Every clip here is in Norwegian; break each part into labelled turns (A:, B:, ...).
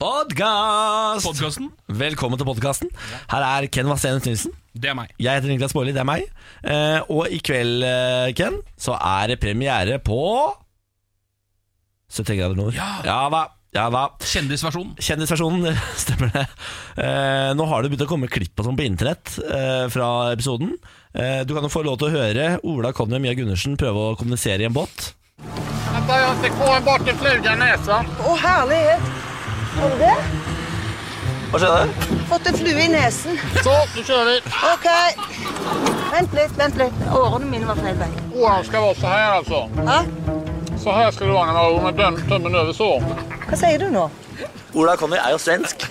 A: Podcast!
B: Podkasten,
A: Velkommen til podkasten. Her er Ken Vasenus Nilsen.
B: det er meg.
A: Jeg heter Niklas Baarli, det er meg. Eh, og i kveld, eh, Ken, så er det premiere på 70 grader nord.
B: Ja.
A: da. Ja da.
B: Kjendisversjonen.
A: Kjendisversjonen, stemmer det. Eh, nå har det begynt å komme klipp og sånn på internett eh, fra episoden. Eh, du kan jo få lov til å høre Ola Conny og Mia Gundersen prøve å kommunisere i en båt.
C: Vänta, jag fick få en bort en fluga i näsan.
D: Å, herlighet! Har du det?
A: Hva skjer det?
D: Fått en flue i nesen.
C: Så, nu kör vi.
D: OK. Vent litt, vent litt. Årene mine var feil vei.
C: Åran ska vara så här alltså.
D: Hæ?
C: Så här ska det vara när man har med dum- tummen över så.
D: Hva sier du nå?
A: Ola Conny er jo svensk.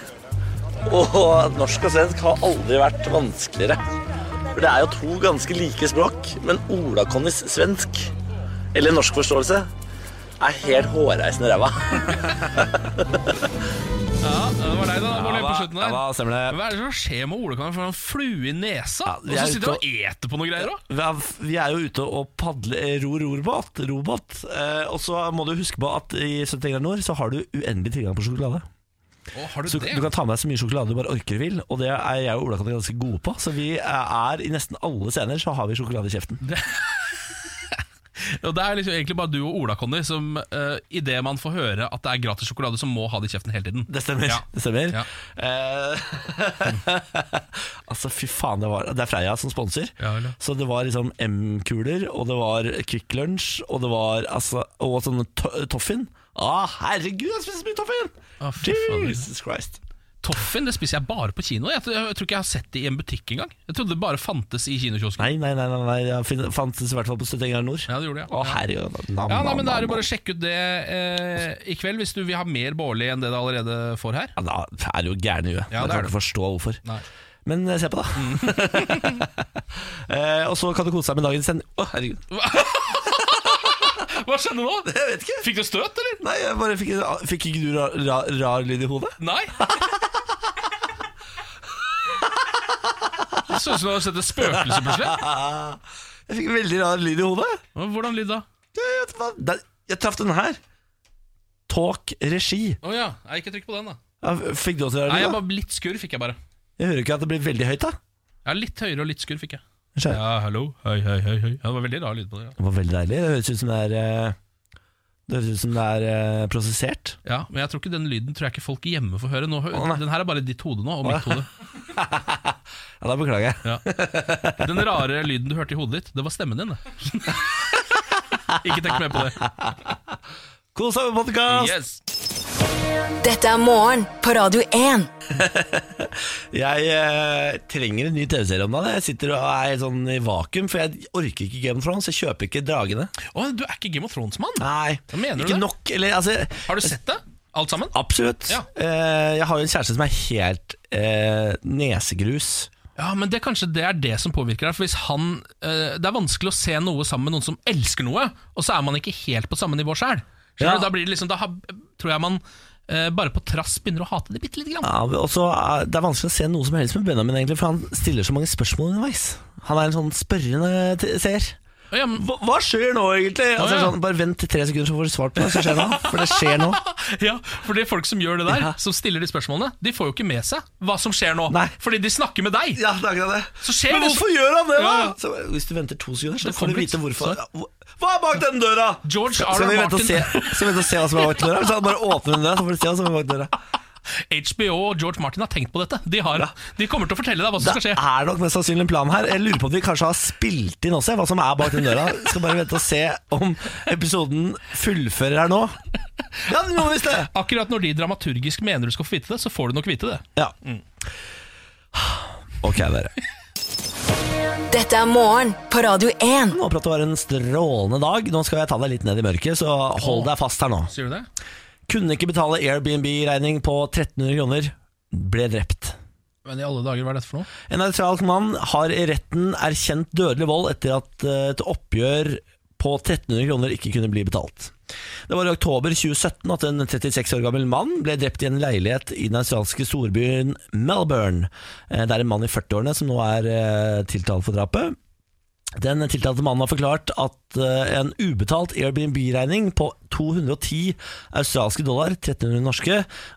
A: Og norsk og svensk har aldri vært vanskeligere. For det er jo to ganske like språk, men Ola Connys svensk, eller norsk forståelse, er helt hårreisende ræva.
B: Ja, det var deg, da. Bård, helt på slutten der.
A: stemmer det.
B: Hva er det som skjer med Ole? Kan han få en flue i nesa?
A: Ja,
B: Og
A: vi
B: så
A: er
B: sitter
A: ute
B: han og eter på noe greier òg.
A: Vi er- Vi er jo ute og padler eh, ror-rorbåt. Robåt. Eh, og så må du huske på at i 70 grader nord så har du uendelig tilgang på sjokolade.
B: Har du
A: Så
B: det?
A: du kan ta med deg så mye sjokolade du bare orker vil, og det er jeg og Ola Conny ganske gode på. Så vi eh, er i nesten alle scener så har vi sjokolade i kjeften.
B: Og det er liksom egentlig bare du og Ola, Conny, som uh, idet man får høre at det er gratis sjokolade, så må ha det i kjeften hele tiden.
A: Det stemmer.
B: Ja.
A: Det stemmer.
B: Ja.
A: Eh, altså, fy faen, det var Det er Freia som sponser.
B: Ja, vel, ja.
A: så det var liksom M-kuler, og det var Kvikk Lunsj, og det var altså, Og sånne to Toffin. Å, herregud, jeg spiser så mye Toffin!
B: Å, fy faen.
A: Jesus Christ.
B: Toffin det spiser jeg bare på kino. Jeg, tror- jeg tror ikke jeg har sett det i en butikk engang. Jeg trodde det bare fantes i kinokiosken.
A: Nei, nei, nei, nei, nei. jeg fin- fantes i hvert fall på Støttenger Nord.
B: Ja, det gjorde jeg.
A: Å, herregud. Nam,
B: Ja, nei,
A: nam,
B: men Da er det
A: nam,
B: bare å sjekke ut det eh, i kveld, hvis du vil ha mer Bårli enn det du allerede får her.
A: nam. ja, Da er du jo gæren i huet.
B: Ja,
A: jeg
B: det er
A: kan
B: det.
A: ikke forstå hvorfor.
B: Nei. Mm.
A: Men eh, se på, da. eh, og så kan du kose deg med dagens sending. Å, herregud.
B: Hva skjedde nå?
A: Jeg vet ikke.
B: Fikk du støt, eller?
A: Nei, jeg bare fikk, fikk ikke du rar, rar, rar lyd i hodet?
B: Nei. Det Synes du du har sett et spøkelse plutselig?
A: Jeg fikk veldig rar lyd i hodet.
B: Hvordan lyd da?
A: Jeg, vet hva- der, jeg traff den her. Talk regi.
B: Å ja, jeg ikke trykk på den da
A: Ja, Fikk du også rar
B: Nei,
A: lyd?
B: jeg
A: da?
B: bare litt skurr fikk jeg bare
A: Jeg hører ikke at det blir veldig høyt, da.
B: Ja, litt høyere og litt skurr fikk jeg
A: Skjønner.
B: Ja, hallo, hei, hei, hei, hei. Ja, Det var veldig rar lyd på det ja.
A: Det var veldig deilig. Det høres ut som det er eh, Det høres ut som det er eh, prosessert.
B: ja, men jeg tror ikke den lyden tror jeg ikke folk hjemme får høre nå hø-
A: Å, nei.
B: Den her er bare ditt hode nå, og mitt hode
A: Ja, Da beklager jeg.
B: Den rare lyden du hørte i hodet ditt, det var stemmen din det. Ikke tenk mer på det
A: Kos deg med podkast!
B: Yes
E: Dette er morgen på Radio 1.
A: Jeg eh, trenger en ny TV-serie om dagen. Jeg sitter og er sånn i vakuum, for jeg orker ikke Game of Thrones. Jeg kjøper ikke dragene.
B: Å, du er ikke Game of Thrones-mann
A: Nei,
B: Hva mener du
A: ikke
B: det?
A: nok. Eller altså
B: Har du sett det? Alt sammen?
A: Absolutt.
B: Ja.
A: Eh, jeg har jo en kjæreste som er helt eh, nesegrus.
B: Ja, men det, kanskje det er det som påvirker deg. For hvis han, eh, Det er vanskelig å se noe sammen med noen som elsker noe, og så er man ikke helt på samme nivå sjøl.
A: Ja.
B: Da, blir det liksom, da har, tror jeg man eh, bare på trass begynner å hate det bitte lite grann.
A: Ja, og så er- Det er vanskelig å se noe som helst med Benjamin, egentlig, for han stiller så mange spørsmål underveis. Han er en sånn spørrende t- seer.
B: Å, Ja, men,
A: Hva, hva skjer nå, egentlig? Altså,
B: ja.
A: sånn, bare vent i tre sekunder, så får du svart på det. Så skjer det nå, for det skjer nå.
B: ja, for det er folk som gjør det der,
A: Ja.
B: som stiller de spørsmålene, de får jo ikke med seg hva som skjer nå.
A: Nei.
B: Fordi de snakker med deg.
A: Ja, det er akkurat det.
B: Så skjer
A: Men
B: det så-
A: hvorfor gjør han det, da?
B: Ja, ja.
A: Så, hvis du venter to sekunder, så
B: Det
A: får du
B: kommer
A: vite
B: litt.
A: hvorfor.
B: Så-
A: Hva er bak den døra?
B: George R.
A: Skal vi vente og
B: Martin.
A: se, skal vi vente og se hva som er bak døra? Så han bare åpner den døra, så får du se hva som er bak døra.
B: HBO og George Martin har tenkt på dette. De, har, de kommer til å fortelle deg hva som skal
A: Det
B: skje.
A: er nok mest sannsynlig en plan her. Jeg lurer på om vi kanskje har spilt inn også, hva som er bak den døra. Skal bare vente og se om episoden fullfører her nå. Ja, nå visst det!
B: Akkurat når de dramaturgisk mener du skal få vite det, så får du nok vite det.
A: Ja. Ok, dere.
E: Dette er morgen på Radio 1.
A: Nå håper jeg at du har en strålende dag. Nå skal jeg ta deg litt ned i mørket, så hold deg fast her nå.
B: Sier du det?
A: Kunne ikke betale Airbnb-regning på 1300 kroner. Ble drept.
B: Men i alle dager, hva er dette for noe?
A: En nøytralt mann har i retten erkjent dødelig vold etter at eh, et oppgjør på 1300 kroner ikke kunne bli betalt. Det var i oktober 2017 at en 36 år gammel mann ble drept i en leilighet i den australske storbyen Melbourne. Eh, Det er en mann i 40-årene som nå er eh, tiltalt for drapet. Den tiltalte mannen har forklart at eh, en ubetalt Airbnb-regning på 210 australske dollar, 1300 norske,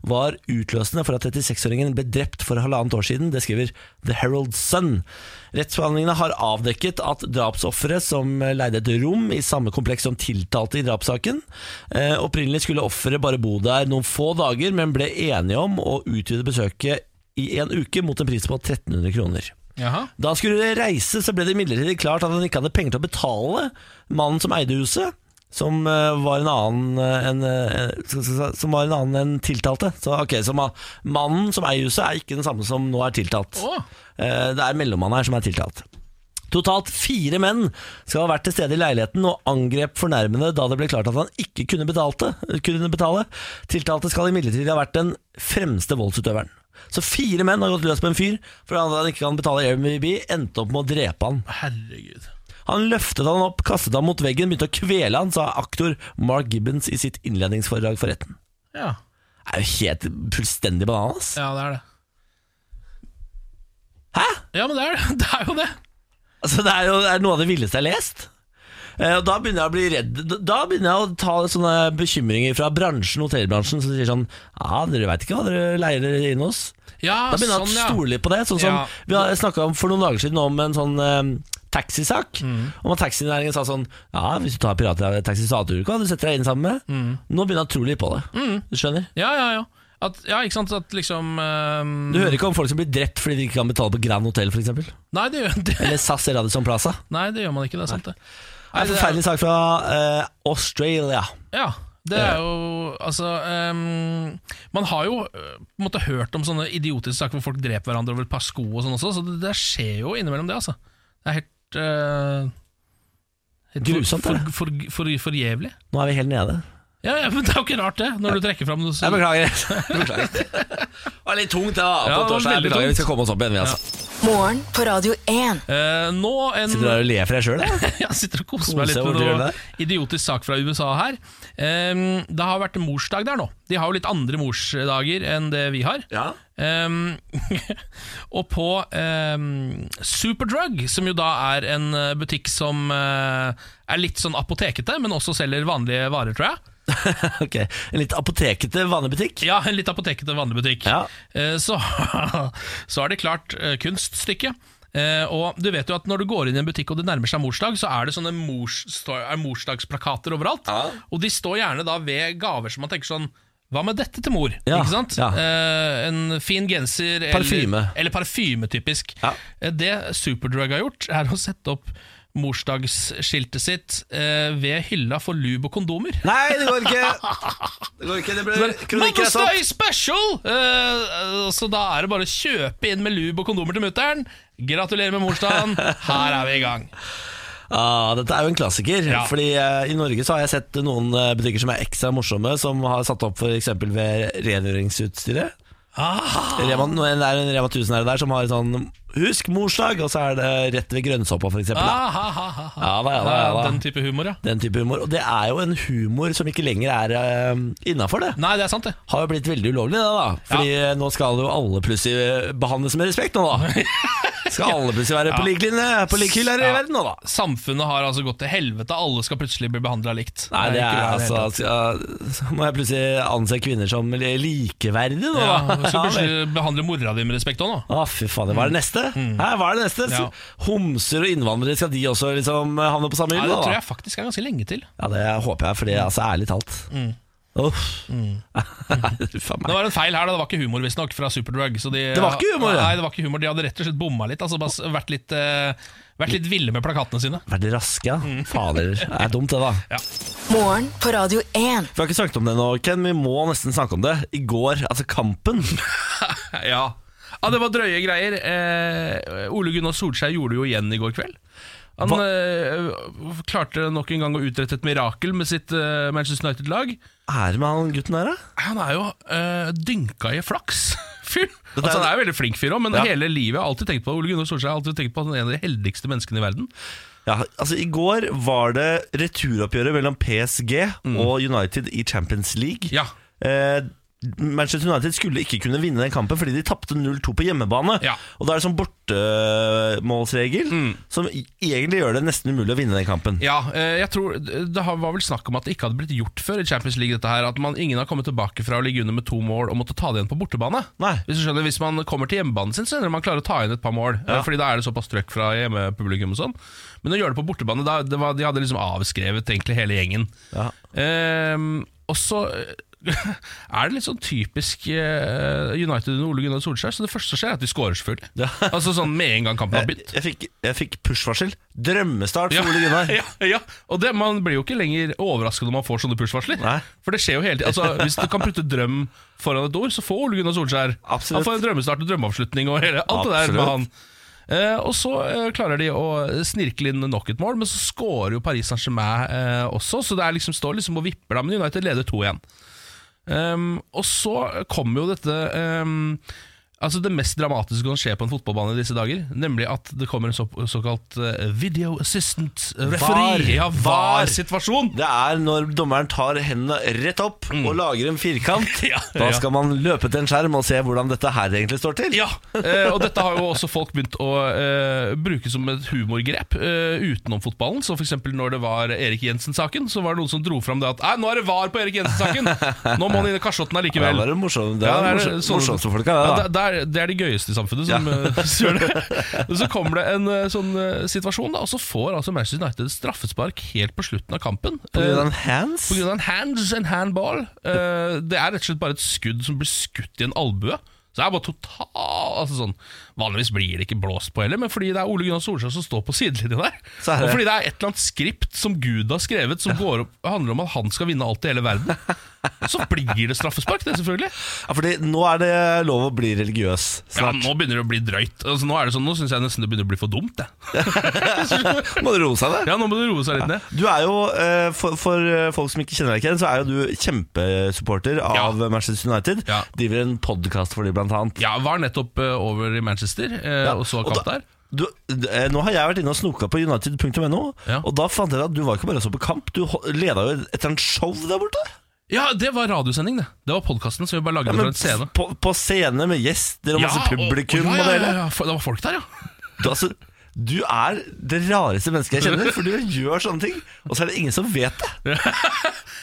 A: var utløsende for at 36-åringen ble drept for halvannet år siden. Det skriver The Herald Sun. Rettsforhandlingene har avdekket at drapsofferet, som leide et rom i samme kompleks som tiltalte i drapssaken, eh, opprinnelig skulle offeret bare bo der noen få dager, men ble enige om å utvide besøket i en uke mot en pris på 1300 kroner.
B: Jaha.
A: Da han skulle reise, så ble det imidlertid klart at han ikke hadde penger til å betale mannen som eide huset, som eh, var en annen eh, enn, eh, skal- skal- skal- Som var en annen enn tiltalte. Så, ok, så ma- mannen som eier huset, er ikke den samme som nå er tiltalt.
B: Å.
A: Eh, Det er mellommannen her som er tiltalt. Totalt fire menn skal ha vært til stede i leiligheten og angrep fornærmede da det ble klart at han ikke kunne, betalte, kunne betale. Tiltalte skal imidlertid ha vært den fremste voldsutøveren. Så fire menn har gått løs på en fyr fordi han ikke kan betale Airbnb, endte opp med å drepe han.
B: Herregud.
A: Han løftet han opp, kastet han mot veggen, begynte å kvele han, sa aktor Mark Gibbons i sitt innledningsforedrag for retten.
B: Ja.
A: Det er jo helt fullstendig bananas.
B: ja, det er det.
A: Hæ?
B: Ja, men det er, det. det er jo det.
A: Altså, det er jo det er noe av det villeste jeg har lest. Eh, og da begynner jeg å bli redd. Da- Da begynner jeg å ta sånne bekymringer fra bransjen, hotellbransjen som sier sånn Ja, dere veit ikke hva dere leier dere inn hos.
B: Ja,
A: Da begynner jeg
B: sånn,
A: å
B: ja.
A: stole litt på det. Sånn som
B: Ja.
A: Vi har snakka om for noen dager siden om en sånn eh, taxisak.
B: Mm.
A: Om at taxinæringen sa sånn Ja, hvis du tar pirattaxi, så aner du ikke hva du setter deg inn sammen med.
B: Mm.
A: Nå begynner jeg å tro litt på det. Du skjønner?
B: Ja, ja, ja. At, ja, ikke sant, at liksom ehm,
A: Du hører ikke om folk som blir drept fordi de ikke kan betale på Grand Hotel, f.eks.
B: Nei, det gjør det.
A: Eller SAS Radisson Plaza.
B: Nei, det gjør man ikke, det er sant, det.
A: Det er en forferdelig sak fra eh, Australia.
B: Ja, det er jo Altså, ehm, man har jo eh, på en måte hørt om sånne idiotiske saker hvor folk dreper hverandre over et par sko og sånn også, så det, det skjer jo innimellom det, altså. Det er helt eh, helt
A: Grusomt,
B: for,
A: er det?
B: for, for, for, for jævlig.
A: Nå er vi helt nede.
B: Ja, ja, men det er jo ikke rart, det, når du trekker fram noe så-
A: Jeg beklager. Det var litt tungt, det var
B: Ja,
A: på
B: det var
A: torsdag. Jeg
B: veldig
A: beklager,
B: tungt.
A: vi skal komme oss opp igjen. Vi, altså.
E: Morgen på Radio 1.
B: Eh, Nå en
A: Sitter du der og ler for deg sjøl, da?
B: Jeg sitter og koser
A: Koser
B: meg litt
A: deg
B: med
A: borti
B: noe
A: hjørnet
B: idiotisk sak fra USA her. Ehm, det har vært morsdag der nå. De har jo litt andre morsdager enn det vi har.
A: Ja.
B: Ehm, og på ehm, Superdrug, som jo da er en eh, butikk som eh, er litt sånn apotekete, men også selger vanlige varer, tror jeg.
A: Ok, En litt apotekete vanebutikk.
B: Ja, en litt apotekete vanebutikk.
A: Ja.
B: Eh, Så, så er det klart eh, kunststykke. Eh, og du vet jo at Når du går inn i en butikk og det nærmer seg morsdag, så er det sånne mors, sto- er morsdagsplakater overalt. Og de står gjerne da ved gaver som man tenker sånn Hva med dette til mor?
A: Ja,
B: Ikke sant?
A: ja.
B: Eh, en fin genser eller-
A: Parfyme.
B: Eller, parfyme, typisk.
A: Ja.
B: Eh, det Superdrug har gjort, er å sette opp morsdagsskiltet sitt eh, ved hylla for lube og kondomer.
A: Nei, det går ikke! Det går ikke, det blir kronikker er sånn.
B: Motherstay special! Eh, eh, så da er det bare å kjøpe inn med lube og kondomer til mutter'n. Gratulerer med morsdagen, her er vi i gang.
A: Ah, dette er jo en klassiker.
B: Ja.
A: Fordi eh, I Norge så har jeg sett noen eh, butikker som er ekstra morsomme, som har satt opp f.eks. ved rengjøringsutstyret. Rema, det er en Rema 1000 her og der som har sånn 'Husk morsdag', og så er det rett ved grønnsåpa, f.eks.
B: Ah, ha, ha, ha, ha.
A: Ja, da, ja, da, ja, da.
B: Den type humor, ja.
A: Den type humor. Og det er jo en humor som ikke lenger er uh, innafor, det.
B: Nei, det er sant, det.
A: Har jo blitt veldig ulovlig, det da. Fordi eh, nå skal jo alle plutselig eh, behandles med respekt, nå da. Skal alle plutselig være på lik linje, på lik hyll her i
B: Ja.
A: verden nå da.
B: Samfunnet har altså gått til helvete, alle skal plutselig bli behandla likt.
A: Nei, det
B: ikke
A: er
B: i det
A: altså
B: hele tatt.
A: skal- Så må jeg plutselig anse kvinner som li- likeverdige nå,
B: ja,
A: da.
B: Du skal plutselig behandle mora di med respekt òg, nå.
A: Å, fy fader. Hva er det neste? Hæ, hva er det neste?
B: Mm. Ja.
A: Homser og innvandrere, skal de også liksom havne på samme
B: Nei,
A: hylle?
B: det
A: da,
B: tror
A: da?
B: jeg Mm. faktisk er ganske lenge til.
A: Ja, det håper jeg, for det er altså ærlig talt.
B: Mm.
A: Uff. Faen meg.
B: Det var en feil her, da. Det var ikke humor, visstnok, fra Superdrug. Så de,
A: Det var ikke humor, ja.
B: Nei, det var ikke humor. De hadde rett og slett bomma litt. Altså bare s- vært litt, eh, vært litt ville med plakatene sine.
A: Vært raske, ja. Fader, det er dumt det, da.
E: Morgen på Radio 1.
A: Vi har ikke snakket om det nå, Ken. Vi må nesten snakke om det. I går, altså Kampen.
B: Ja. ja, det var drøye greier. Eh, Ole Gunnar Solskjær gjorde det jo igjen i går kveld. Han
A: Hva-
B: eh, klarte nok en gang å utrette et mirakel med sitt eh, Manchester United-lag.
A: Er det med han gutten her, da?
B: Han er jo eh, dynka i flaks. Fyr.
A: Dette er-
B: Altså, han er jo veldig flink fyr òg, men
A: Ja.
B: hele livet har jeg alltid tenkt på Ole Gunnar Solskjær har alltid tenkt på at han er en av de heldigste menneskene i verden.
A: Ja, altså I går var det returoppgjøret mellom PSG og United i Champions League.
B: Ja.
A: Eh, Manchester United skulle ikke kunne vinne den kampen fordi de tapte 0-2 på hjemmebane.
B: Ja.
A: Og da er det sånn bortemålsregel som i- egentlig gjør det nesten umulig å vinne den kampen.
B: Ja, eh, jeg tror Det har- var vel snakk om at det ikke hadde blitt gjort før i Champions League. dette her At man, ingen har kommet tilbake fra å ligge under med to mål og måtte ta det igjen på bortebane.
A: Nei.
B: Hvis du skjønner, hvis man kommer til hjemmebanen sin, så ender man klarer å ta igjen et par mål. eh, Fordi da er det såpass trøkk fra hjemmepublikum og sånn. Men å gjøre det på bortebane, da, det var, de hadde liksom avskrevet egentlig hele gjengen.
A: Ja.
B: Ehm, og så eh, er det litt sånn typisk eh, United under Ole Gunnar Solskjær. Så det første som skjer, er at de skårer, selvfølgelig.
A: Ja.
B: altså sånn med en gang kampen har
A: Jeg,
B: begynt.
A: jeg fikk, jeg fikk push-varsel. Drømmestart for
B: Ja,
A: Ole Gunnar.
B: ja, ja. Og det, man blir jo ikke lenger overrasket når man får sånne push-varsler.
A: Nei.
B: For det skjer jo hele tiden. Altså, hvis du kan putte drøm foran et ord, så får Ole Gunnar Solskjær
A: Absolutt.
B: Han får en drømmestart og drømmeavslutning og hele, alt det der med
A: Absolutt.
B: han. Eh, og så eh, klarer de å snirkle inn nok et mål, men så scorer jo Paris Saint-Germain eh, også, så det er liksom, står liksom og vipper da, men United leder 2-1. Ehm, og så kommer jo dette ehm, Altså Det mest dramatiske som kan skje på en fotballbane i disse dager, nemlig at det kommer en så, såkalt eh, video assistant eh, referee.
A: VAR.
B: Ja,
A: VAR.
B: var-situasjon!
A: Det er når dommeren tar hendene rett opp og lager en firkant.
B: Mm. Ja,
A: da
B: ja.
A: skal man løpe til en skjerm og se hvordan dette her egentlig står til.
B: Ja, eh, og dette har jo også folk begynt å eh, bruke som et humorgrep eh, utenom fotballen. Så for eksempel når det var Erik Jensen-saken, så var det noen som dro fram det at Nei, nå er det var på Erik Jensen-saken! Nå må han inn i kasjotten
A: Ja,
B: allikevel.
A: det er det morsomme, det
B: Ja,
A: er
B: det er
A: morsom-
B: det- sånn-
A: morsomste folka.
B: Ja,
A: Ja,
B: det, det, er, det er de gøyeste i samfunnet som eh, som gjør det. Og Så kommer det en eh, sånn eh, situasjon, da, og så får altså Manchester United straffespark helt på slutten av kampen.
A: På grunn av en
B: Eh,
A: hands?
B: på grunn av en hands and handball. Eh, det er rett og slett bare et skudd som blir skutt i en albue. Så det er bare total altså sånn, Vanligvis blir det ikke blåst på heller, men fordi det er Ole Gunnar Solskjær som står på sidelinjen der,
A: Så er det-
B: og fordi det er et eller annet skript som Gud har skrevet, som går opp, handler om at han skal vinne alt i hele verden, så blir det straffespark, det, selvfølgelig.
A: Ja, fordi nå er det lov å bli religiøs
B: Ja,
A: snart.
B: nå begynner det å bli drøyt. Altså, nå er det sånn, nå syns jeg nesten det begynner å bli for dumt. Jeg.
A: må du roe seg ned.
B: Ja, Nå må du roe seg litt ned.
A: Du er jo, eh, for, for eh, folk som ikke kjenner deg igjen, så er jo du kjempesupporter av
B: Ja.
A: Manchester United.
B: Ja.
A: Driver en podkast for dem, blant annet.
B: Jeg var nettopp eh, over i Manchester eh, og så kamp
A: da-
B: der.
A: Du, d- eh, nå har jeg vært inne og snoka på united.no,
B: Ja.
A: og da fant jeg at du var ikke bare så på kamp, du ho- leda jo etter en show der borte.
B: Ja, det var radiosending, det. Det var podkasten som vi bare lagde
A: Ja,
B: fra
A: men
B: en scene.
A: på, på scene med gjester og masse
B: og-
A: publikum
B: og,
A: og
B: ja,
A: det
B: ja, ja,
A: hele.
B: ja, for- Det var folk der, ja.
A: Du, altså, du er det rareste mennesket jeg kjenner, for du gjør sånne ting, og så er det ingen som vet det.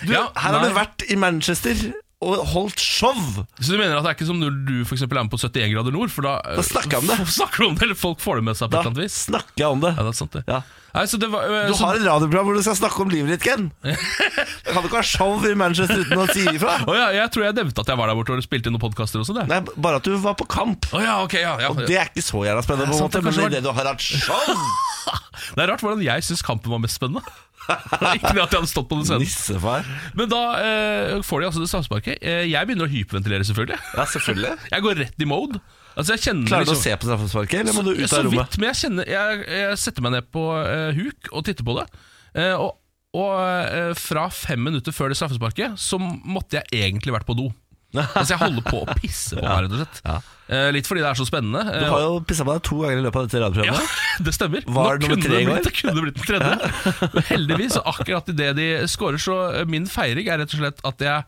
A: Du,
B: ja
A: her har
B: nei.
A: du vært i Manchester og holdt show!
B: Så du mener at det er ikke som når du for eksempel, er med på 71 grader nord? For da, eh,
A: Da snakker vi om det.
B: snakker du om det, Eller folk får det med seg på
A: Da
B: et eller annet vis.
A: snakker jeg om det.
B: Ja, det er sant, det.
A: Ja.
B: Nei, så det var, eh,
A: Du
B: så,
A: har et radioprogram hvor du skal snakke om livet ditt, Ken. Jeg kan du ikke ha show i Manchester uten å si ifra.
B: Å ja, jeg tror jeg nevnte at jeg var der borte og spilte inn noen podkaster også. Det.
A: Nei, bare at du var på kamp.
B: Å ja, ok, ja, ja.
A: Og det er ikke så jævla spennende, på
B: Det er
A: en
B: sant,
A: måte,
B: det
A: men
B: kanskje var-
A: idet du har hatt show
B: Det er rart hvordan jeg syns kampen var mest spennende. Det er ikke det at jeg hadde stått på den scenen.
A: Nissefar.
B: Men da eh, får de altså det straffesparket. Eh, jeg begynner å hyperventilere, selvfølgelig.
A: Ja, selvfølgelig.
B: Jeg går rett i mode. Altså, jeg kjenner
A: Klarer du å
B: liksom-
A: se på straffesparket, eller må du ut
B: så
A: av rommet?
B: vidt, men jeg, kjenner, jeg, jeg setter meg ned på eh, huk og titter på det. Eh, og og eh, fra fem minutter før det straffesparket, så måtte jeg egentlig vært på do. altså Jeg holder på å pisse på meg, rett og slett. Eh, litt fordi det er så spennende.
A: Du har jo pissa på deg to ganger i løpet av dette
B: ja,
A: radioprogrammet.
B: det stemmer.
A: Var det
B: Nå
A: nummer
B: kunne
A: tre i
B: det
A: går?
B: blitt- Det kunne blitt den tredje. Men heldigvis, og akkurat idet de scorer, så eh, min feiring er rett og slett at jeg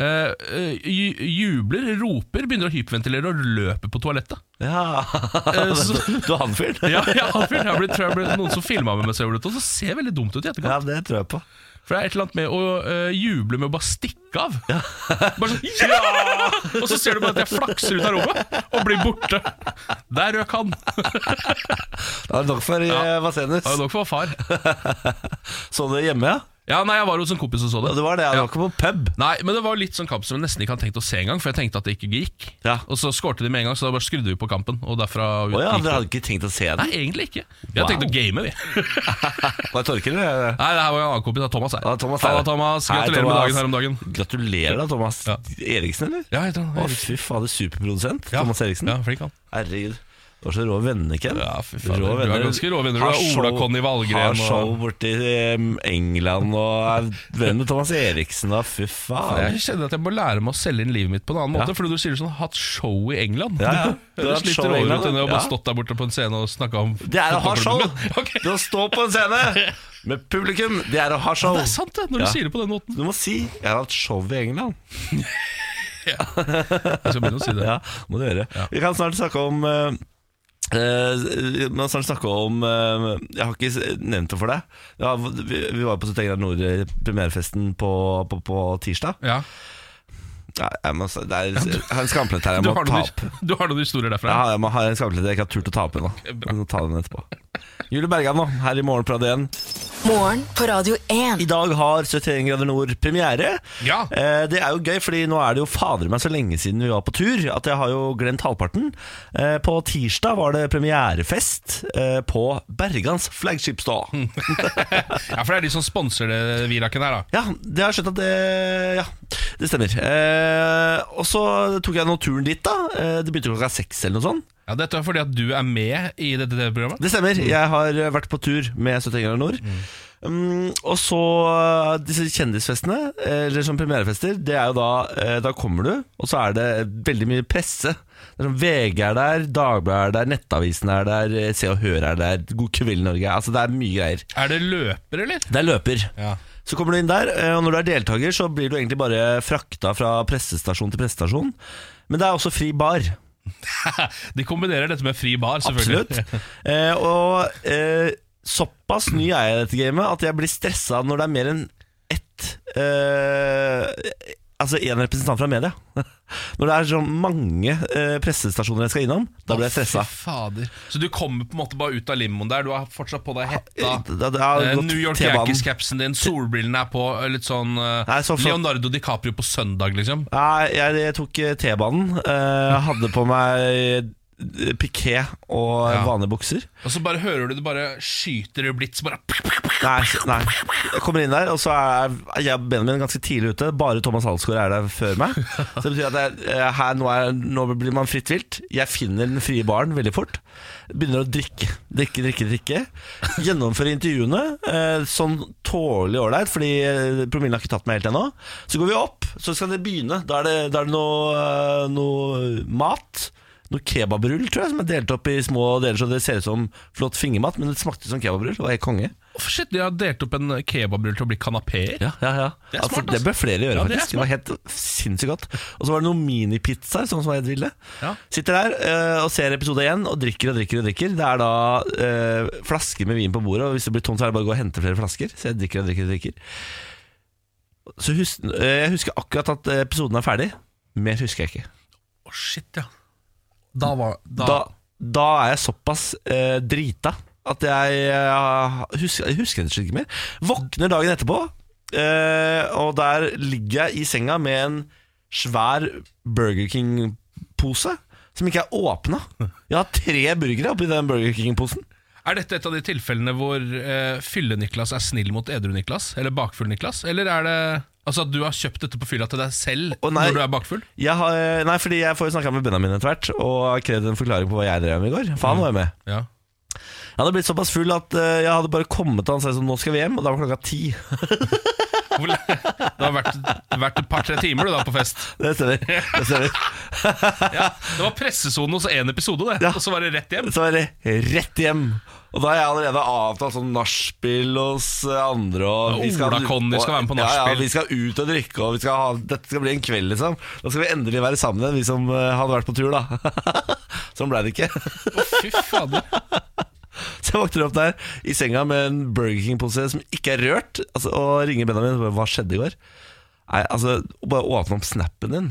B: eh, eh, ju- jubler, roper, begynner å hyperventilere og løper på toalettet.
A: Ja.
B: Eh, så-
A: Du er han fyren?
B: Ja, ja han fyren. Jeg ble, tror jeg ble noen som filma med meg selv, og så ser veldig dumt ut i
A: Ja,
B: etterkant.
A: det tror jeg på.
B: For det er et eller annet med å øh, juble med å bare stikke av. Bare sånn ja! Og så ser du bare at jeg flakser ut av rommet og blir borte. Der røk han.
A: Det er nok for eh, ja.
B: Ja.
A: Vasenus.
B: Ja, nok for far.
A: Så du Sånn det hjemme, ja?
B: Ja, nei, jeg var hos en kompis og så
A: Ja,
B: det.
A: det var det. Jeg
B: Ja.
A: var ikke på pub.
B: Nei, men det var litt sånn kamp som jeg nesten ikke hadde tenkt å se engang, for jeg tenkte at det ikke gikk.
A: Ja.
B: Og så skårte de med en gang, så da bare skrudde vi på kampen. Og derfra ut,
A: Å ja,
B: gikk
A: dere
B: det.
A: hadde ikke tenkt å se
B: Nei,
A: den?
B: egentlig ikke. Vi hadde
A: Wow.
B: tenkt å game, vi.
A: Var det Torkel, eller?
B: Nei, det her var jo en annen kompis. Det er Thomas her.
A: Ja, Thomas er
B: Halla,
A: det.
B: Thomas.
A: Hei,
B: Gratulerer med
A: Thomas.
B: dagen her om dagen.
A: Gratulerer da, Thomas
B: Ja.
A: Eriksen, eller?
B: Ja, jeg tror han
A: Å, fy fader, superprodusent Thomas Eriksen.
B: Ja, flink han
A: Herregud. Du var så rå venner, Ken.
B: Ja, fy faen, du er ganske rå venner. Du
A: Har
B: er Ola
A: show-
B: Conny Wallgren
A: Har
B: og-
A: show borti em, England og er venn med Thomas Eriksen og fy faen.
B: Jeg kjenner at jeg må lære meg å selge inn livet mitt på en annen måte. Fordi du sier sånn 'hatt show i England'.
A: Ja, ja. Du
B: Du
A: har hatt
B: sliter
A: show i
B: råere
A: England,
B: ut enn å
A: ja.
B: bare stått der borte på en scene og snakka om
A: Det er å ha show!
B: fotballklubben min. Ok.
A: Det å stå på en scene med publikum, det er å ha show.
B: Det er sant, det, når du
A: Ja.
B: sier det på den måten.
A: Du må si 'jeg har hatt show i England'.
B: Jeg skal begynne å si det.
A: Ja, må du gjøre. Vi kan snart snakke om eh, eh, Vi må snart snakke om eh, Jeg har ikke s- nevnt det for deg. Ja, vi, vi var på 71 grader nord-premierefesten på, på, på tirsdag.
B: Ja.
A: Nei, jeg må, s- det er jeg har en skamplett her jeg
B: Du,
A: må
B: har
A: ta
B: noen,
A: opp.
B: his- du har noen historier derfra?
A: Jeg har, jeg må ha en skamplett jeg ikke har turt å ta opp ennå. Jeg må Ta den etterpå. Julie Bergan nå, her i Morgen på Radio 1.
E: Morgen på Radio
A: I
E: 1.
A: dag har 71 grader nord premiere.
B: Ja.
A: Eh, det er jo gøy, fordi nå er det jo fader meg så lenge siden vi var på tur at jeg har jo glemt halvparten. Eh, på tirsdag var det premierefest eh, på Bergans flagship store.
B: Mm. Ja, for det er de som sponser det Viraken her, da.
A: Ja, det har jeg skjønt at det Ja, det stemmer. Eh, og så tok jeg nå turen dit, da. Eh, det begynte klokka seks eller noe sånt.
B: Ja, dette er fordi at du er med i dette TV-programmet.
A: Det stemmer. Jeg har eh, vært på tur med 71 grader nord. Um, og så eh, disse kjendisfestene, eh, eller som premierefester, det er jo da eh, Da kommer du, og så er det veldig mye presse. Det er sånn VG er der, Dagbladet er der, Nettavisen er der, eh, Se og Hør er der, God kveld Norge Altså Det er mye greier.
B: Er det løper, eller?
A: Det er løper.
B: Ja.
A: Så kommer du inn der, eh, og når du er deltaker, så blir du egentlig bare frakta fra pressestasjon til pressestasjon. Men det er også fri bar.
B: De kombinerer dette med fri bar, selvfølgelig.
A: Absolutt. Eh, og eh, såpass ny er jeg i dette gamet at jeg blir stressa når det er mer enn ett eh, Altså én representant fra media. Når det er så mange eh, pressestasjoner jeg skal innom, da blir jeg stressa.
B: Fy fader. Så du kommer på en måte bare ut av limoen der. Du har fortsatt på deg hetta.
A: Da- da- da har jeg
B: eh,
A: gått
B: New York
A: T-banen.
B: Yankees-capsen din, solbrillene er på. eh, Litt sånn eh,
A: Nei, så flott.
B: Leonardo DiCaprio på søndag, liksom.
A: Nei, jeg, jeg tok eh, T-banen. Eh, hadde på meg eh, piké og
B: Ja.
A: vanlige bukser.
B: Og så bare hører du det bare skyter i blitz. Bare
A: Nei, nei. Jeg kommer inn der, og så er jeg og Benjamin ganske tidlig ute. Bare Thomas Halsgaard er der før meg. Så det betyr at jeg, eh, her, nå, er, nå blir man fritt vilt. Jeg finner den frie baren veldig fort. Begynner å drikke, drikke, drikke. drikke Gjennomfører intervjuene. eh, Sånn tålelig ålreit, fordi eh, promillen har ikke tatt meg helt ennå. Så går vi opp, så skal det begynne. Da er det, da er det noe, eh, noe mat. Noe kebabrull, tror jeg, som er delt opp i små deler, så det ser ut som flott fingermat, men det smakte som kebabrull. Det var helt konge.
B: Å, Shit, de har delt opp en kebabrull til å bli kanapeer.
A: Ja, ja, ja. Det,
B: er smart,
A: altså, det
B: altså.
A: bør flere gjøre,
B: Ja, det er
A: faktisk. Det, var helt sinnssykt godt. Og så var det noen minipizzaer, sånn som var helt ville.
B: Ja.
A: Sitter der eh, og ser episode én og drikker og drikker og drikker. Det er da eh, flasker med vin på bordet, og hvis det blir tomt, så er det bare å gå og hente flere flasker. Så jeg drikker og drikker og drikker. Så hus eh, jeg husker akkurat at eh, episoden er ferdig. Mer husker jeg ikke.
B: Å, shit, ja. Da var da,
A: Da, da er jeg såpass eh, drita at jeg eh, husker, jeg husker rett og slett ikke mer. Våkner dagen etterpå, eh, og der ligger jeg i senga med en svær Burger King-pose som ikke er åpna. Jeg har tre burgere oppi den Burger King-posen.
B: Er dette et av de tilfellene hvor eh, fylle-Niklas er snill mot edru-Niklas? Eller bakfull-Niklas? Eller er det altså at du har kjøpt dette på fylla til deg selv
A: Å, nei.
B: når du er bakfull?
A: Jeg har, eh, nei, fordi jeg får jo snakka med Benjamin etter hvert, og har krevd en forklaring på hva jeg drev med i går. For han var jo med.
B: Ja.
A: Jeg hadde blitt såpass full at eh, jeg hadde bare kommet til han og sagt sånn, nå skal vi hjem, og da var klokka ti.
B: Hvor- Det har vært, vært et par-tre timer du da på fest.
A: Det stemmer. Det stemmer.
B: Ja, det var pressesonen hos én episode, det.
A: Ja.
B: Og så var det rett hjem.
A: Så er det rett hjem. Og da har jeg allerede avtalt sånn nachspiel hos eh, andre. Og vi
B: Ola Conny skal være med på
A: Ja, ja,
B: nachspiel.
A: vi skal ut og drikke, og vi skal ha, dette skal bli en kveld, liksom. Da skal vi endelig være sammen igjen, vi som eh, hadde vært på tur, da. sånn ble det ikke.
B: Å, fy fader.
A: Så jeg våkner opp der i senga med en Burger King-pose som ikke er rørt, altså, og ringer Benjamin og bare 'Hva skjedde i går?' Nei, altså, bare åpne opp snappen din.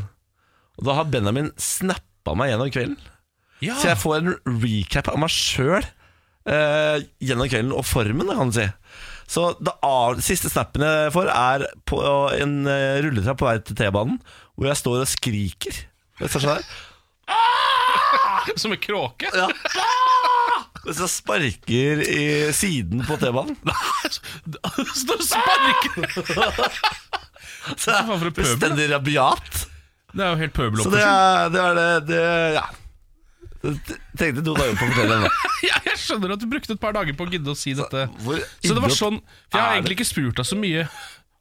A: Og da har Benjamin snappa meg gjennom kvelden.
B: Ja.
A: Så jeg får en recap av meg sjøl eh, gjennom kvelden og formen, da, kan du si. Så det av, siste snappen jeg får, er på en eh, rulletrapp på vei til T-banen, hvor jeg står og skriker. Hvis jeg sånn her.
B: Som en kråke.
A: Ja. Hvis jeg sparker i siden på T-banen.
B: Står og sparker!
A: Så jeg
B: Hva for en
A: er
B: pøbel?
A: bestendig rabiat.
B: Det er jo helt
A: Så det
B: pøbeloppførsel.
A: er det, er det, det ja. Tenkte to dager på å fortelle om det.
B: Ja, jeg skjønner at du brukte et par dager på å gidde å si dette.
A: hvor
B: Så det var
A: idiot
B: sånn For jeg har
A: er det?
B: egentlig ikke spurt deg så mye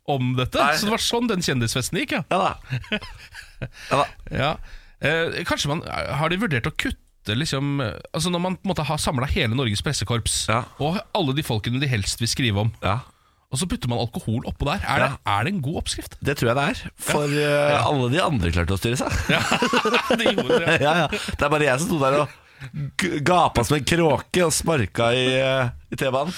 B: om dette,
A: Nei.
B: så det var sånn den kjendisfesten gikk, ja.
A: Ja da. Ja da.
B: ja. Eh, kanskje man Har de vurdert å kutte liksom eh, Altså Når man på en måte har samla hele Norges pressekorps
A: Ja.
B: og alle de folkene de helst vil skrive om,
A: Ja.
B: og så putter man alkohol oppå der, er, det, er det en god oppskrift?
A: Det tror jeg det er. For eh, alle de andre klarte å styre seg.
B: Ja, det gjorde det.
A: Ja, ja. Det er bare jeg som sto der og g- gapa som en kråke og sparka i, eh, i T-banen.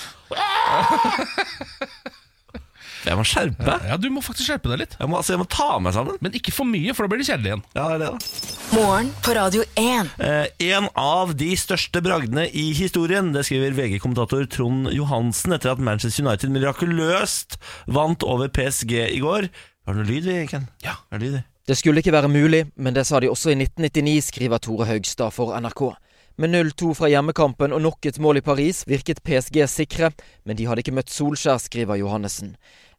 A: Jeg må skjerpe meg.
B: Ja, du må faktisk skjerpe deg litt.
A: Jeg må, altså, jeg må ta meg sammen.
B: Men ikke for mye, for da blir det kjedelig igjen.
A: Ja, det er det, da.
E: Morgen på Radio 1.
A: Eh, en av de største bragdene i historien, det skriver VG-kommentator Trond Johansen etter at Manchester United mirakuløst vant over PSG i går. Har du noe lyd, vi, Ken?
B: Ja.
A: Har du lyd, vi?
F: Det skulle ikke være mulig, men det sa de også i 1999, skriver Tore Haugstad for NRK. Med 0-2 fra hjemmekampen og nok et mål i Paris virket PSG sikre, men de hadde ikke møtt Solskjær, skriver Johannessen.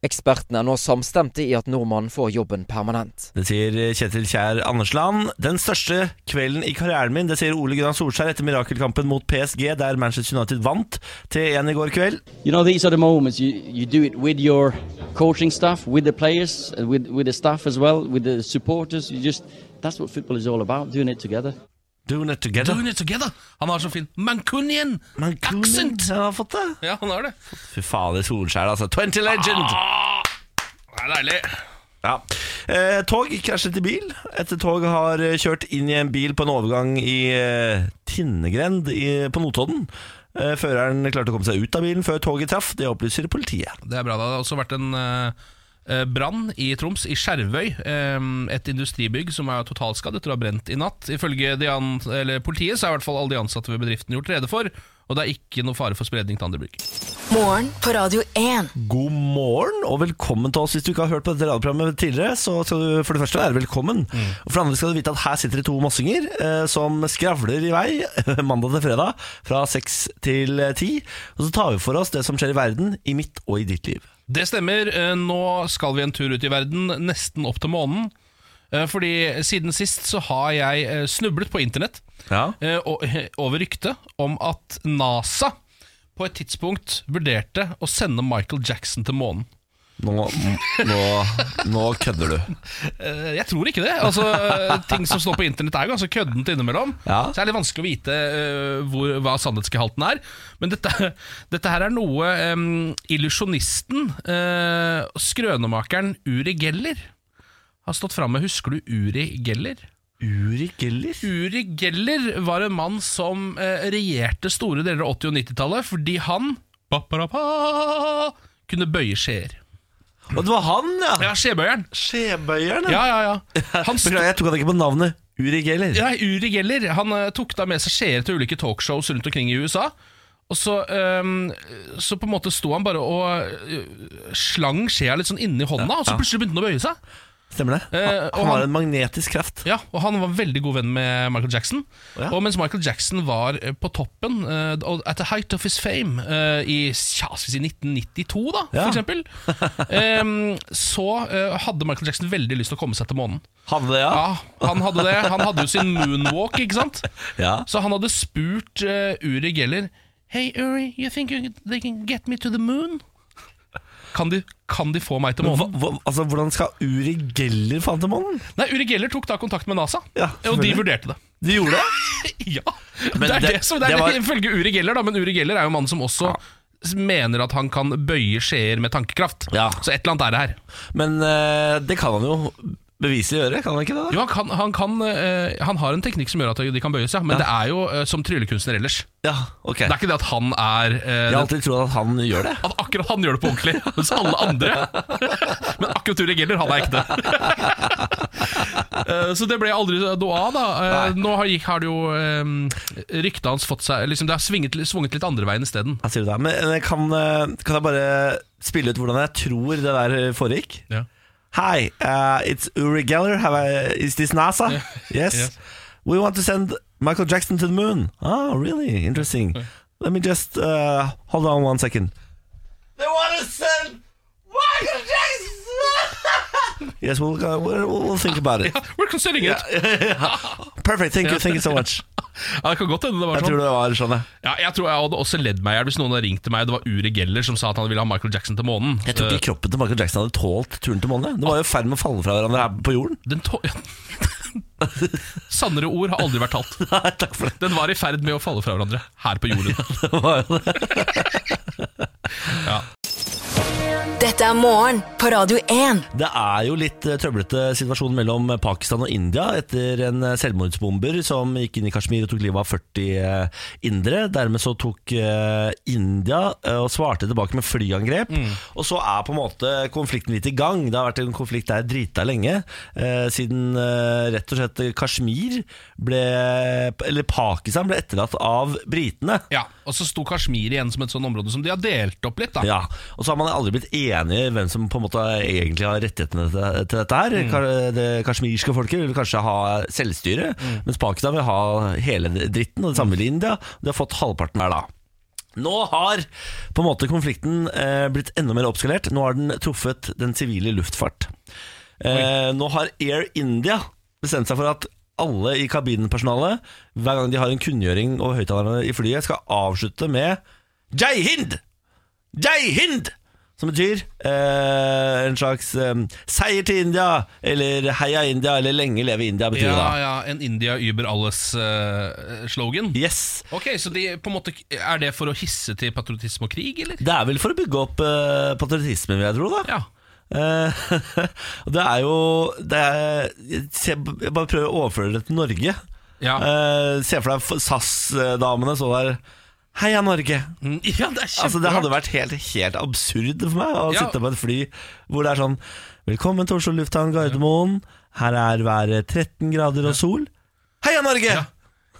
F: Ekspertene er nå samstemte i at nordmannen får jobben permanent.
A: Det sier Kjetil Kjær Andersland. Den største kvelden i karrieren min, det sier Ole Gunnar Solskjær etter mirakelkampen mot PSG, der Manchester United vant 3-1 i går kveld.
G: You know, these are the moments you, you do it with your coaching staff, with the players, and with, with the staff as well, with the supporters. You just that's what football is all about, doing it together.
A: Doing it together.
B: Doing it together. Han har så fin Mancunian accent!
A: Han har fått det.
B: Ja, han har det.
A: Fy fader, Solskjær, altså. 20 legend!
B: Det er deilig.
A: Ja. Eh, tog krasjet i bil. Et tog har eh, kjørt inn i en bil på en overgang i eh, Tinnegrend i, på Notodden. Eh, føreren klarte å komme seg ut av bilen før toget traff. Det opplyser politiet.
B: Det er bra. Det har også vært en eh, eh, brann i Troms, i Skjervøy. eh, et industribygg som er totalskadd etter å ha brent i natt. Ifølge de an eller politiet så er i hvert fall alle de ansatte ved bedriften gjort rede for, og det er ikke noe fare for spredning til andre bygg.
E: Morgen på Radio 1.
A: God morgen og velkommen til oss. Hvis du ikke har hørt på dette radioprogrammet tidligere, så skal du for det første være velkommen. Og for det andre skal du vite at her sitter det to mossinger eh, som skravler i vei mandag til fredag fra seks til eh, ti. Og så tar vi for oss det som skjer i verden, i mitt og i ditt liv.
B: Det stemmer. Eh, Nå skal vi en tur ut i verden, nesten opp til månen. Eh, Fordi siden sist så har jeg eh, snublet på internett
A: Ja.
B: eh, og- over ryktet om at NASA på et tidspunkt vurderte å sende Michael Jackson til månen.
A: Nå, nå, nå kødder du.
B: Eh, Jeg tror ikke det. Altså, eh, ting som står på internett er jo ganske køddent innimellom.
A: Ja.
B: Så det er litt vanskelig å vite eh, hvor, hva sannhetsgehalten er. Men dette, dette her er noe em, illusjonisten, eh, skrønemakeren Uri Geller, har stått fram med. Husker du Uri Geller?
A: Uri Geller?
B: Uri Geller var en mann som eh, regjerte store deler av 80- og 90-tallet fordi han ba-ba-ba, kunne bøye skjeer.
A: Og det var han, ja!
B: Ja, skjebøyeren!
A: Skjebøyeren,
B: Ja, ja, ja. Han sto-
A: Beklager, jeg tok han ikke på navnet. Uri Geller.
B: Nei, Uri Geller han eh, tok da med seg skjeer til ulike talkshows rundt omkring i USA. Og så, ehm, så på en måte sto han bare og eh, slang skjea litt sånn inni hånda, og så plutselig begynte han å bøye seg.
A: Stemmer det?
B: Eh,
A: Han,
B: og
A: han har
B: han-
A: en magnetisk kraft.
B: Ja, og Han var veldig god venn med Michael Jackson.
A: Å, ja.
B: Og mens Michael Jackson var eh, på toppen, eh, og at the height of his fame, eh, i ja, skal vi si 1992, da,
A: Ja.
B: for eksempel, ehm, så eh, hadde Michael Jackson veldig lyst til å komme seg til månen.
A: Hadde det, ja?
B: Ja, Han hadde det Han hadde jo sin moonwalk, ikke sant?
A: Ja.
B: Så han hadde spurt eh, Uri Geller Hey Uri, you think you, they can get me to the moon? Kan de, kan de få meg til
A: Hva,
B: månen?
A: hva, altså, hvordan skal Uri Geller faen til månen?
B: Nei, Uri Geller tok da kontakt med NASA,
A: Ja,
B: og de
A: selvfølgelig.
B: vurderte det.
A: De gjorde det?
B: Ja,
A: Men
B: det er det,
A: det-
B: som det er
A: det var-
B: det ifølge Uri Geller, da, men Uri Geller er jo mannen som også mener at han kan bøye skjeer med tankekraft.
A: Ja.
B: Så et eller annet er det her.
A: Men eh, det kan han jo beviselig gjøre, kan han ikke det? da?
B: Jo, han, kan, han, kan, eh, han har en teknikk som gjør at de kan bøyes, ja, men det er jo eh, som tryllekunstner ellers.
A: Ja, ok.
B: Det er ikke det at han er eh,
A: Jeg har
B: den
A: alltid trodd at han gjør det.
B: At akkurat han gjør det på ordentlig, mens alle andre Men akkurat Uri Geller, han er ekte. Eh, Så det ble aldri noe av, da. Eh, Nå har, gikk- har det jo eh, Ryktet hans fått seg liksom, Det har svinget, svunget litt andre veien isteden.
A: Jeg sier det da. Men eh, kan, eh, kan jeg bare spille ut hvordan jeg tror det der foregikk?
B: Ja.
A: Hi, uh, it's Uri Geller. Have I, is this NASA? Yes.
B: Yes.
A: We want to send Michael Jackson to the moon. Oh, really? Interesting. Let me just uh, hold on one second. They want to send Michael Jackson. yes, we'll, go, we'll we'll think about it.
B: We're considering it.
A: Perfect. Thank you. Thank you so much.
B: Ja, det kan godt hende det var
A: Jeg
B: sånn.
A: tror det var sånn, ja.
B: Ja, jeg tror jeg hadde også ledd meg i hjel hvis noen hadde ringt til meg og det var Uri Geller som sa at han ville ha Michael Jackson til månen.
A: Jeg tror ikke kroppen til Michael Jackson hadde tålt turen til månen. jeg. Det var jo i ferd med å falle fra hverandre her på jorden.
B: Eh, Den tå... Sannere ord har aldri vært talt.
A: Nei, takk for det.
B: Den var i ferd med å falle fra hverandre her på jorden.
A: Det var jo det.
E: Dette er morgen på Radio 1.
A: Det er jo litt eh, trøblete situasjon mellom Pakistan og India etter en eh, selvmordsbomber som gikk inn i Kashmir og tok livet av 40 eh, indere. Dermed så tok eh, India eh, og svarte tilbake med flyangrep. Og så er på en måte konflikten litt i gang. Det har vært en konflikt der drita lenge, eh, siden eh, rett og slett Kashmir ble Eller Pakistan ble etterlatt av britene.
B: Ja, Og så sto Kashmir igjen som et sånn område som de har delt opp litt. da
A: Ja, og så har man aldri blitt enige i hvem som på en måte egentlig har rettighetene til, til dette her. Ka- Det kasjmirske folket vil kanskje ha selvstyre, mens Pakistan vil ha hele dritten, og det samme vil India. De har fått halvparten hver da. Nå har på en måte konflikten eh, blitt enda mer oppskalert. Nå har den truffet den sivile luftfart. Eh, nå har Air India bestemt seg for at alle i kabinpersonalet, hver gang de har en kunngjøring over høyttalerne i flyet, skal avslutte med Jai Hind! Jai Hind! Som betyr eh, en slags eh, seier til India, eller heia India, eller lenge leve India, betyr
B: Ja,
A: det da.
B: ja, En India über alles-slogan.
A: Yes!
B: Ok, så de, på en måte, Er det for å hisse til patriotisme og krig, eller?
A: Det er vel for å bygge opp eh, patriotismen, vil jeg tro, da.
B: Ja.
A: Eh, og det er jo det er, se, Jeg bare prøver å overføre det til Norge.
B: Ja,
A: Eh, se for deg SAS-damene så der Heia Norge!
B: Mm, ja det er kjemperart.
A: Altså, det hadde vært helt, helt absurd for meg å
B: Ja.
A: sitte på et fly hvor det er sånn Velkommen til Oslo lufthavn Gardermoen. Her er været 13 grader og sol. Heia Norge!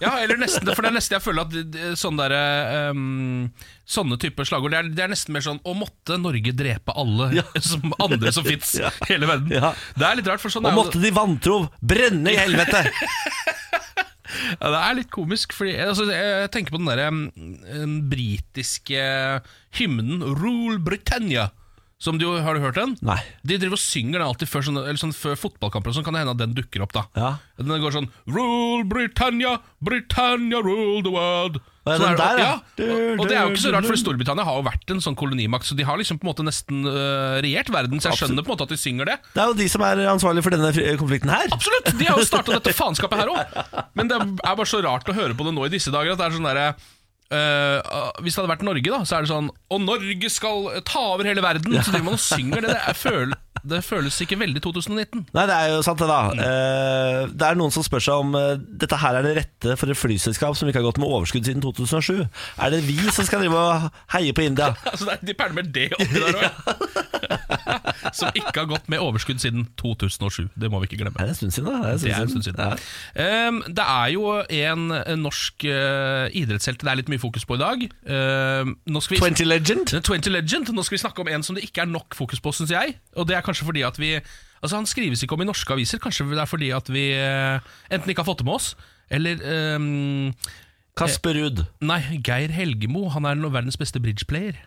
B: Ja, eller nesten, for det er nesten jeg føler at det- det- sånne, der, ehm, sånne typer slagord det er, det er nesten mer sånn Å måtte Norge drepe alle
A: Ja.
B: som andre som fins
A: Ja.
B: i hele verden.
A: Ja.
B: Det er litt rart, for sånn
A: Og
B: er
A: måtte
B: jo,
A: de vantro brenne i helvete!
B: ja, det er litt komisk. Fordi, altså, jeg tenker på den derre um, britiske hymnen 'Rule Britannia'. Som du, har du hørt den?
A: Nei.
B: De driver og synger den alltid før, sånn, eller sånn, før fotballkamper, og sånn kan det hende at den dukker opp. da
A: Ja.
B: Den går sånn Rule Britannia, Britannia rule the world.
A: Ja,
B: Så
A: den
B: er det-
A: der, ja.
B: og, og det er jo ikke så rart, for Storbritannia har jo vært en sånn kolonimakt, så de har liksom på en måte nesten øh, regjert verden, så jeg skjønner på en måte at de synger det.
A: Det er jo de som er ansvarlig for denne fri- konflikten her.
B: Absolutt! De har jo starta dette faenskapet her òg. Men det er bare så rart å høre på det nå i disse dager. At det er sånn derre øh, hvis det hadde vært Norge, da, så er det sånn Og Norge skal ta over hele verden! Så driver man og synger det. Det, er, føl, det føles ikke veldig 2019.
A: Nei, det er jo sant det,
B: Mm.
A: da. Eh, det er noen som spør seg om eh, dette her er det rette for et flyselskap som ikke har gått med overskudd siden 2007. Er det vi som skal drive og heie på India?
B: Altså, det er- De pælmer det oppi der òg. Som ikke har gått med overskudd siden 2007. Det må vi ikke glemme.
A: Det er en stund siden, da.
B: Det er en stund siden.
A: Ja.
B: Ehm, det er jo en, en norsk eh, idrettshelt det er litt mye fokus på i dag. Ehm, nå skal vi
A: 20 Legend.
B: 20 Legend. Nå skal vi snakke om en som det ikke er nok fokus på, syns jeg. Og det er kanskje fordi at vi Altså Han skrives ikke om i norske aviser. Kanskje det er fordi at vi eh, enten ikke har fått det med oss, eller ehm,
A: Kasper Ruud.
B: Nei, Geir Helgemo. Han er no- verdens beste bridgeplayer.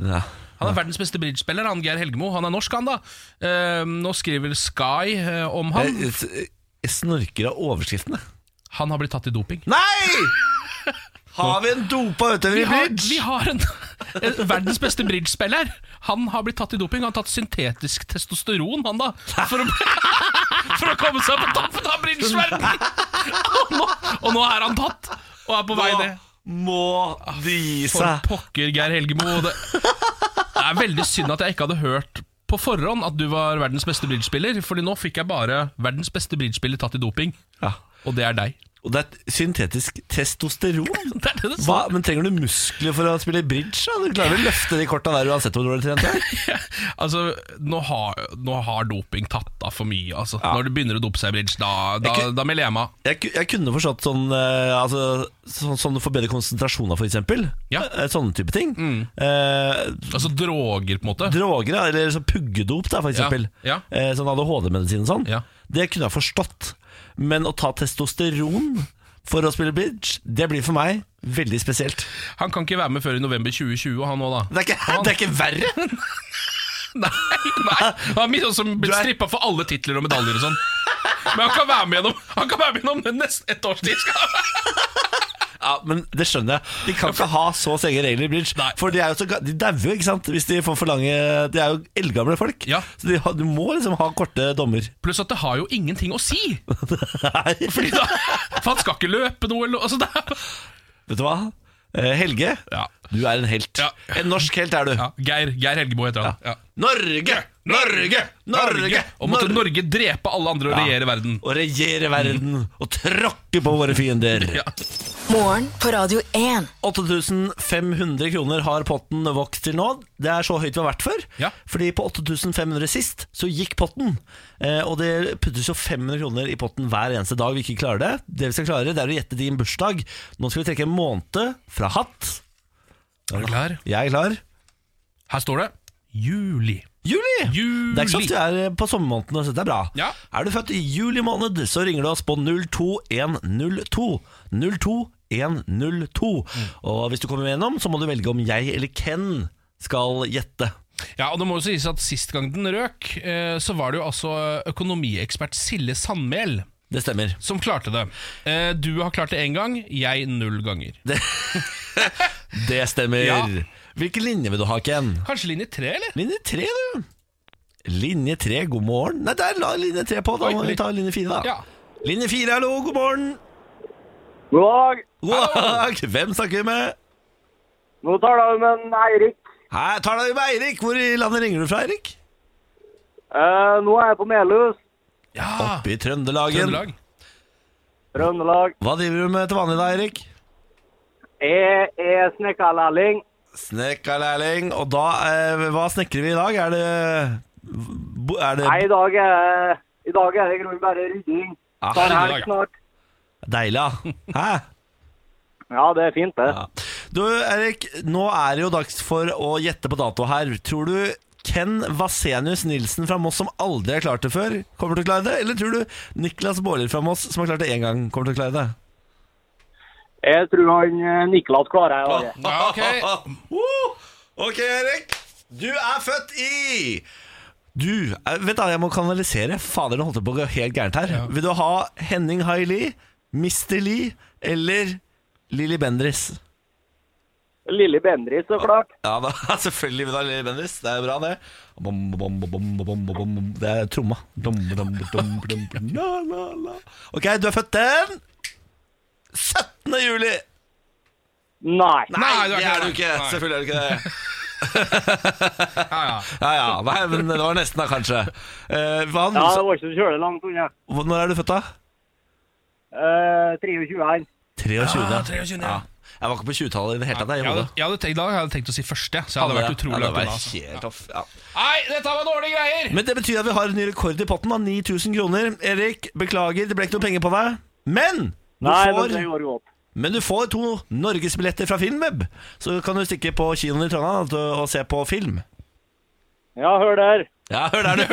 A: Ja.
B: Han er verdens beste bridgespiller, han Geir Helgemo. Han er norsk, han da. Eh, nå skriver Sky eh, om han.
A: Jeg, jeg- jeg snorker av overskriftene.
B: Han har blitt tatt i doping.
A: Nei! Har vi en dopa utøver
B: Vi
A: i
B: har,
A: bridge?
B: vi har en, en verdens beste bridgespiller. Han har blitt tatt i doping. Han har tatt syntetisk testosteron, han da. For å, for å komme seg på toppen av bridgeverdenen! Og, nå- og nå er han tatt, og er på vei ned.
A: Må de gi
B: For
A: seg.
B: pokker, Geir Helgemo. Det det er veldig synd at jeg ikke hadde hørt på forhånd at du var verdens beste bridgespiller, Fordi nå fikk jeg bare verdens beste bridgespiller tatt i doping,
A: Ja.
B: og det er deg.
A: Og det er et syntetisk testosteron.
B: Det er det det
A: Hva? Men trenger du muskler for å spille bridge? Da? Du klarer vel å løfte de korta der uansett hvor dårlig trent du er?
B: Altså, nå har, nå har doping tatt av for mye, altså. Når du begynner å dope seg i bridge, da, da,
A: Jeg ku-
B: da melder jeg meg.
A: Jeg, ku- jeg kunne forstått sånn eh, altså, Sånn som du får bedre konsentrasjon av, f.eks.
B: Ja.
A: Sånne type ting. Eh,
B: Altså droger, på en måte.
A: droger, da, eller sånn puggedop, da, f.eks.
B: Ja, ja.
A: Eh, sånn ADHD-medisin og sånn.
B: Ja.
A: Det kunne jeg forstått. Men å ta testosteron for å spille bridge, det blir for meg veldig spesielt.
B: Han kan ikke være med før i november 2020, og han òg, da.
A: Det er ikke, det er ikke verre!
B: Nei, nei. Han har også
A: Du
B: blitt
A: er-
B: strippa for alle titler og medaljer og sånn. Men han kan være med gjennom Han kan være med gjennom nesten ett års tid! Skal han.
A: Ja, men det skjønner jeg. De kan ikke ha så strenge regler i bridge. For de er jo så ga- De dauer, ikke sant, hvis de får for lange De er jo eldgamle folk. Så de har, du må liksom ha korte dommer.
B: Pluss at det har jo ingenting å si! Fordi da, for han skal ikke løpe noe eller noe. altså, det er,
A: Vet du hva? Eh, Helge, du er en helt. En norsk helt er du.
B: Geir, Geir Helgebo heter han. Ja.
A: Norge! Norge! Norge!
B: Og måtte Norge drepe alle andre og
A: Ja.
B: regjere verden. Mm.
A: Å regjere verden og tråkke på våre fiender.
E: Morgen på Radio 1.
A: 8500 kroner har potten vokst til nå. Det er så høyt vi har vært før. Fordi på 8500 sist så gikk potten. Eh, og det puttes jo 500 kroner i potten hver eneste dag vi ikke klarer det. Det vi skal klare, det er å gjette din bursdag. Nå skal vi trekke en måned fra hatt.
B: Er du klar?
A: Jeg er klar.
B: Her står det juli.
A: Juli!
B: Juli.
A: Det er ikke sant du er eh, på sommermånedene, så dette er bra.
B: Ja.
A: Er du født i juli måned, så ringer du oss på 02102. 02102. Og hvis du kommer gjennom, så må du velge om jeg eller Ken skal gjette.
B: Ja, og det må jo sies at Sist gang den røk, eh, så var det jo altså økonomiekspert Sille Sandmæl
A: Det stemmer.
B: som klarte det. Eh, Du har klart det én gang, jeg null ganger.
A: Det stemmer.
B: Ja.
A: Hvilken linje vil du ha, Ken?
B: Kanskje linje tre, eller?
A: Linje tre, du. Linje tre, god morgen. Nei, der la linje tre på. Da
B: Oi,
A: må vi ta linje fire, da.
B: Ja.
A: Linje fire, hallo, god morgen.
H: God dag.
A: God dag. Hvem snakker vi med?
H: Nå tar du med Eirik.
A: Hei, tar deg med Eirik. Hvor i landet ringer du fra, Eirik?
H: Eh, nå er jeg på Melhus,
A: Oppe i Trøndelagen.
B: Trøndelag.
H: Trøndelag.
A: Hva driver du med til vanlig da, Erik?
H: Jeg er snekkerlærling.
A: Snekkerlærling. Og da, eh, hva snekrer vi i dag? Er det, bo- er det
H: Nei, i dag er, i dag er det i grunnen bare rydding.
A: Ah,
H: Tar
A: i dag,
H: helg
A: ja.
H: snart.
A: deilig, da? Hæ?
H: Ja, det er fint, det.
A: Du, Erik, nå er det jo dags for å gjette på dato her. Tror du Ken Vasenius Nilsen fra Moss, som aldri har klart det før, kommer til å klare det? Eller tror du Niklas Baarli fra Moss, som har klart det én gang, kommer til å klare det?
H: Jeg tror han eh, Niklas klarer det. i dag.
B: Ja, ok.
A: Woo! ok, Erik. Du er født i Du, eh, vet du, hva, jeg må kanalisere. Fader, nå holdt jeg på å gå helt gærent her. Vil du ha Henning Haili, Mr. Lee eller Lilly Bendris?
H: Lilly Bendriss, så klart.
A: Ja, da, selvfølgelig vil du ha Lilly Bendris. Det er bra, det. Bom, bom, bom, bom, bom, bom, bom. Det er tromma. Dom, dom, dom, dom, dom. La, la, la. Ok, du er født den 17. juli.
H: Nei.
A: Nei, det er du ikke. Selvfølgelig er du ikke det.
B: Ja, ja.
A: Ja, ja, Nei, men det var nesten da, kanskje. Eh, hva,
H: Ja, det var ikke så kjølig langt unna.
A: hva- når er du født, da?
H: Eh, 23 her.
A: 23.
B: Ja, 23, ja.
A: Jeg var ikke på 20-tallet i det hele tatt. Jeg,
B: Jeg
A: i
B: hadde,
A: hodet.
B: jeg hadde tenkt, da hadde jeg tenkt å si første, så jeg hadde
A: Hadde
B: vært
A: det?
B: utrolig
A: Ja, det
B: langt
A: var
B: unna, altså.
A: helt off, ja.
B: Nei, dette var dårlige greier!
A: Men det betyr at vi har en ny rekord i potten, da. 9000 kroner. Erik, beklager, det ble ikke noe penger på deg. Men
H: Nei,
A: du
H: men det
A: får,
H: går godt.
A: men du får to norgesbilletter fra Filmweb. Så kan du stikke på kinoen i Trondheim da, og se på film.
H: Ja, hør der.
A: Ja, hør der, du.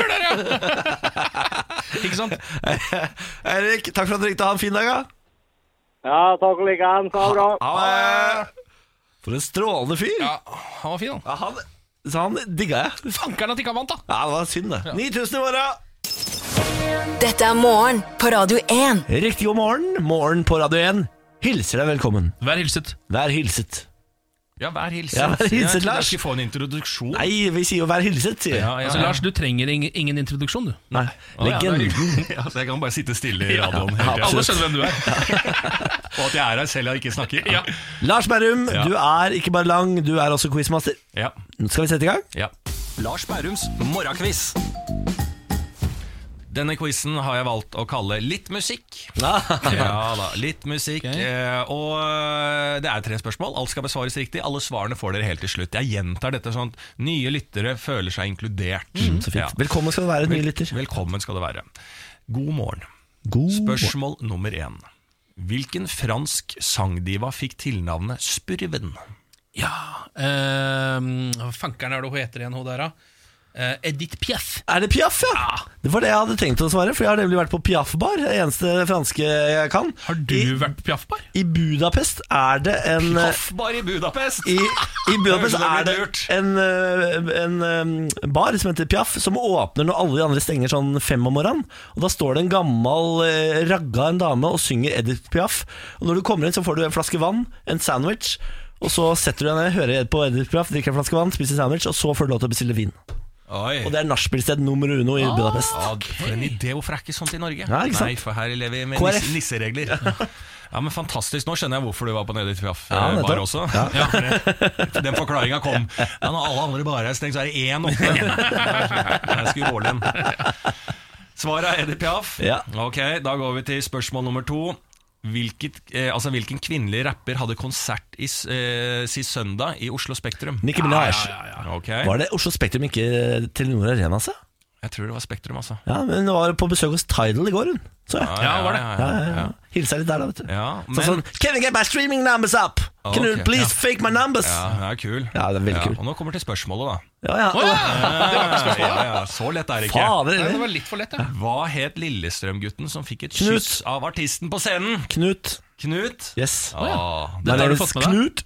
B: Ikke sant?
A: Erik, takk for at du ringte. Ha en fin dag, da.
H: Ja, takk likeens. Ha det bra.
A: Ha det. For en strålende fyr.
B: Ja, han var fin, han.
A: Ja, han, så han digga jeg.
B: Fankeren at ikke han vant, da!
A: Ja, det var synd, det. 9000 i morgen!
E: Dette er morgen på Radio 1.
A: Riktig god morgen. Morgen på Radio 1 hilser deg velkommen.
B: Vær hilset.
A: Vær hilset.
B: Ja, vær hilset.
A: Ja, vær hilset,
B: Jeg trodde
A: Lars.
B: Jeg skulle få en introduksjon.
A: Nei, vi sier jo 'vær hilset', sier vi.
B: Ja, ja, altså, Lars, du trenger ingen, ingen introduksjon, du.
A: Nei, legenden.
G: jeg kan bare sitte stille i radioen.
A: Ja,
G: hele tiden.
B: Alle
A: absolutt.
B: skjønner hvem du er.
G: Og at jeg er her selv og ikke snakker.
B: Ja.
A: Lars Berrum,
G: Ja.
A: du er ikke bare lang, du er også quizmaster.
G: Ja.
A: Nå skal vi sette i gang.
G: Ja. Lars Bærums morgenquiz. Denne quizen har jeg valgt å kalle Litt musikk. Ja da, litt musikk. Eh, og eh, det er tre spørsmål. Alt skal besvares riktig. Alle svarene får dere helt til slutt. Jeg gjentar dette sånn at nye lyttere føler seg inkludert.
A: Mm, Så fint.
G: Ja.
A: Velkommen skal du være, nye lytter.
G: Velkommen skal du være. God morgen.
A: God
G: Spørsmål nummer én. Hvilken fransk sangdiva fikk tilnavnet Spurven?
B: Ja, ehm, Fankeren er det hun heter igjen, hun der, da. eh, Edith Piaf.
A: Er det Piaf, ja? Det var det jeg hadde tenkt å svare, for jeg har nemlig vært på Piaf-bar. Det eneste franske jeg kan. Har du
B: vært på Piaf-bar?
A: I Budapest er det en eh,
G: Piaf-bar i Budapest!
A: I, i Budapest
G: Det er
A: er det en, eh, en eh, bar som heter Piaf, som åpner når alle de andre stenger sånn fem om morgenen. Og Da står det en gammel eh, ragga, en dame, og synger Edith Piaf. Og Når du kommer inn, så får du en flaske vann, en sandwich, og så setter du deg ned, hører på Edith Piaf, drikker en flaske vann, spiser sandwich, og så får du lov til å bestille vin. Og det er nachspielsted nummer uno i Budapest.
G: Ah, for en idé, hvorfor er ikke sånt i Norge?
A: Ja, ikke sant?
G: Nei, for her lever vi med
A: KrF.
G: nisse- nisseregler. Ja, men Fantastisk. Nå skjønner jeg hvorfor du var på nede i Piaf
A: Ja,
G: eh,
A: nettopp.
G: bare også.
A: Ja.
G: Ja, for det- den forklaringa kom. Ja, når alle andre barer er stengt, så er det én oppe. Jeg skulle måle den. Svaret er Edith Piaf.
A: Ja.
G: Ok, Da går vi til spørsmål nummer to. Hvilket, eh, altså, hvilken kvinnelig rapper hadde konsert i, s- eh, sist søndag i Oslo Spektrum?
A: Nicki Minaj.
G: Ja, ja, ja. Ok.
A: Var det Oslo Spektrum, ikke Telenor Arena? Altså?
G: Jeg tror det var Spektrum, altså.
A: Ja, men hun var på besøk hos Tidal i går, hun. Så jeg.
G: Ja, ja, var det?
A: Ja, ja, ja. Hilsa litt der, da, vet du.
G: Ja,
A: Sånn sånn Can I get my streaming numbers up? Can you
G: Ok,
A: please
G: ja.
A: fake my numbers?
G: Ja, den er kul.
A: Ja, det er veldig kul.
G: Og nå kommer til spørsmålet, da.
A: Ja, ja. Å, ja. Det var ikke spørsmålet.
G: Ja, ja, Så lett er det ikke.
A: Fader, eller?
B: Nei, det var litt for lett, ja.
G: Hva het Lillestrøm-gutten som fikk et
A: Knut.
G: kyss av artisten på scenen?
A: Knut.
G: Knut?
A: Yes.
G: Å, ja.
A: My
G: Dette har
A: name is
G: du fått med deg?
A: Knut.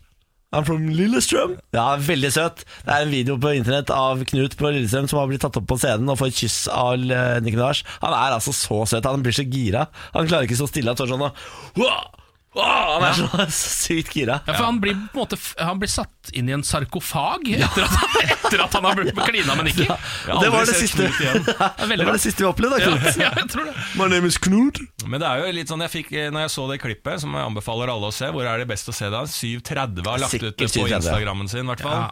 A: I'm from Lillestrøm. Ah. Ja, veldig søt. Det er en video på internett av Knut på Lillestrøm som har blitt tatt opp på scenen og får et kyss av eh, Nicki Minaj. Han er altså så søt. Han blir så gira. Han klarer ikke å stå stille. Han står sånn og Wow! Wow! Han er så sykt gira.
B: Ja, for han blir på en måte f- Han blir satt inn i en sarkofag etter, at han, etter at han har blitt klina med Nikki.
G: Jeg har
A: Det var
G: aldri
A: det
G: sett
A: siste.
G: Knut igjen.
A: Det var det siste vi opplevde, da,
G: Ja,
A: Knut.
G: ja,
B: jeg tror det.
A: My name is Knut.
G: Men det er jo litt sånn jeg fikk eh, Når jeg så det klippet, som jeg anbefaler alle å se, hvor er det best å se det? 730 har lagt ut det
A: Sikkert
G: på
A: 7.30.
G: Instagrammen sin, i hvert fall.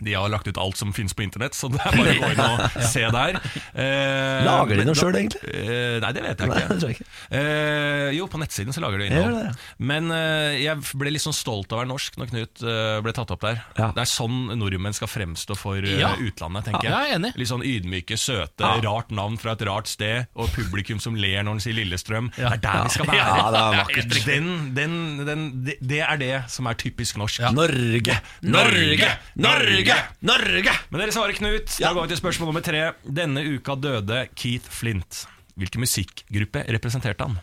G: De har lagt ut alt som finnes på internett, så det er bare å gå inn og se der. Eh,
A: Lager de
G: men
A: noe
G: da-
A: selv, egentlig?
G: Eh, nei, det vet jeg
A: Nei,
G: ikke.
A: det tror jeg ikke.
G: Eh, jo, på nettsiden så lager de
A: gjør
G: innhold. Men eh, jeg ble litt sånn stolt av å være norsk når Knut eh, ble tatt opp der. Det er sånn nordmenn skal fremstå for eh,
B: Ja.
G: utlandet, tenker
B: Ja, jeg er
G: Litt sånn ydmyke, søte,
B: Ja.
G: rart navn fra et rart sted, og publikum som ler når han sier Lillestrøm. Det er der vi skal være!
A: Ja, det er vakkert.
G: Helt riktig. Den, den, den, det, det er det som er typisk norsk.
A: Norge, Norge, Norge, Norge!
G: Men dere svarer Knut. Da går vi til spørsmål nummer tre. Denne uka døde Keith Flint. Hvilken musikkgruppe representerte han?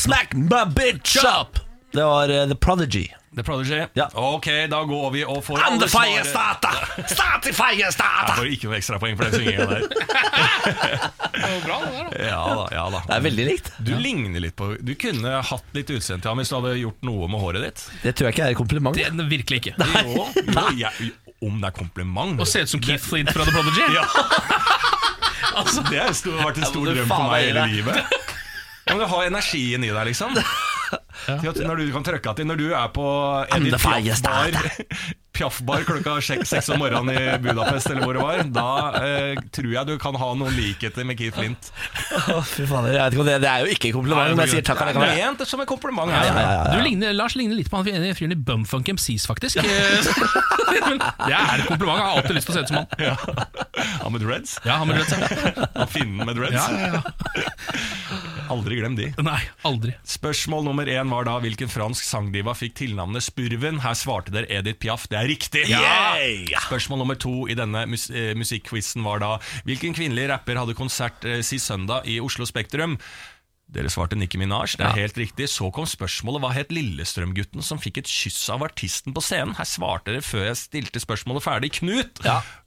A: Smack my bitch up! Det var eh, The Prodigy.
G: The Prodigy? Ok, da går vi og får
A: I'm
G: alle
A: the
G: svaret.
A: firestarter! Start i
G: Jeg
A: firestarter!
G: får ikke noe ekstrapoeng for den synginga der. Ja da, ja da.
A: Det er veldig likt.
G: Du ligner litt på Du kunne hatt litt utseende til ham hvis du hadde gjort noe med håret ditt.
A: Det tror jeg ikke er et kompliment.
B: Det er den virkelig ikke.
G: Jo, jo jeg, om det er kompliment.
B: Og ser ut som Keith Flint fra The Prodigy.
G: Ja. Altså, det har jo vært en
A: må
G: stor
A: du
G: drøm
A: faen
G: for meg
A: meg
G: hele
A: gi deg.
G: livet. Ja, men du har energien i deg, liksom. Til at når du kan trøkke til Når du er på
A: I'm
G: Edith
A: the
G: Piaf-bar
A: firestarter.
G: Piaf-bar klokka sjek- seks om morgenen i Budapest, eller hvor det var, da eh, tror jeg du kan ha noen likheter med Keith Flint.
A: Å, Fy fader, jeg vet ikke om det, det er jo ikke et kompliment, men jeg sier takk. allikevel.
G: Nei, ment som en kompliment.
B: Ja,
G: her.
A: ja, ja, ja.
B: Du ligner, Lars ligner litt på han ene fyren i Bumfunk MCs, faktisk. Men det er et kompliment. Jeg har alltid lyst til å se ut som han.
G: Ja. Han med dreads?
B: Ja, han med dreads, ja.
G: Han finnen med dreads?
B: Ja, ja,
G: Aldri glem de.
B: Nei, aldri.
G: Spørsmål nummer én var da hvilken fransk sangdiva fikk tilnavnet Spurven. Her svarte dere Edith Piaf. Det er riktig!
B: Ja!
G: Spørsmål nummer to i denne mus eh, musikkquizen var da hvilken kvinnelig rapper hadde konsert eh, sist søndag i Oslo Spektrum? Dere svarte Nikki Minaj, det er helt riktig. Så kom spørsmålet hva het Lillestrøm-gutten som fikk et kyss av artisten på scenen? Her svarte dere før jeg stilte spørsmålet ferdig. Knut!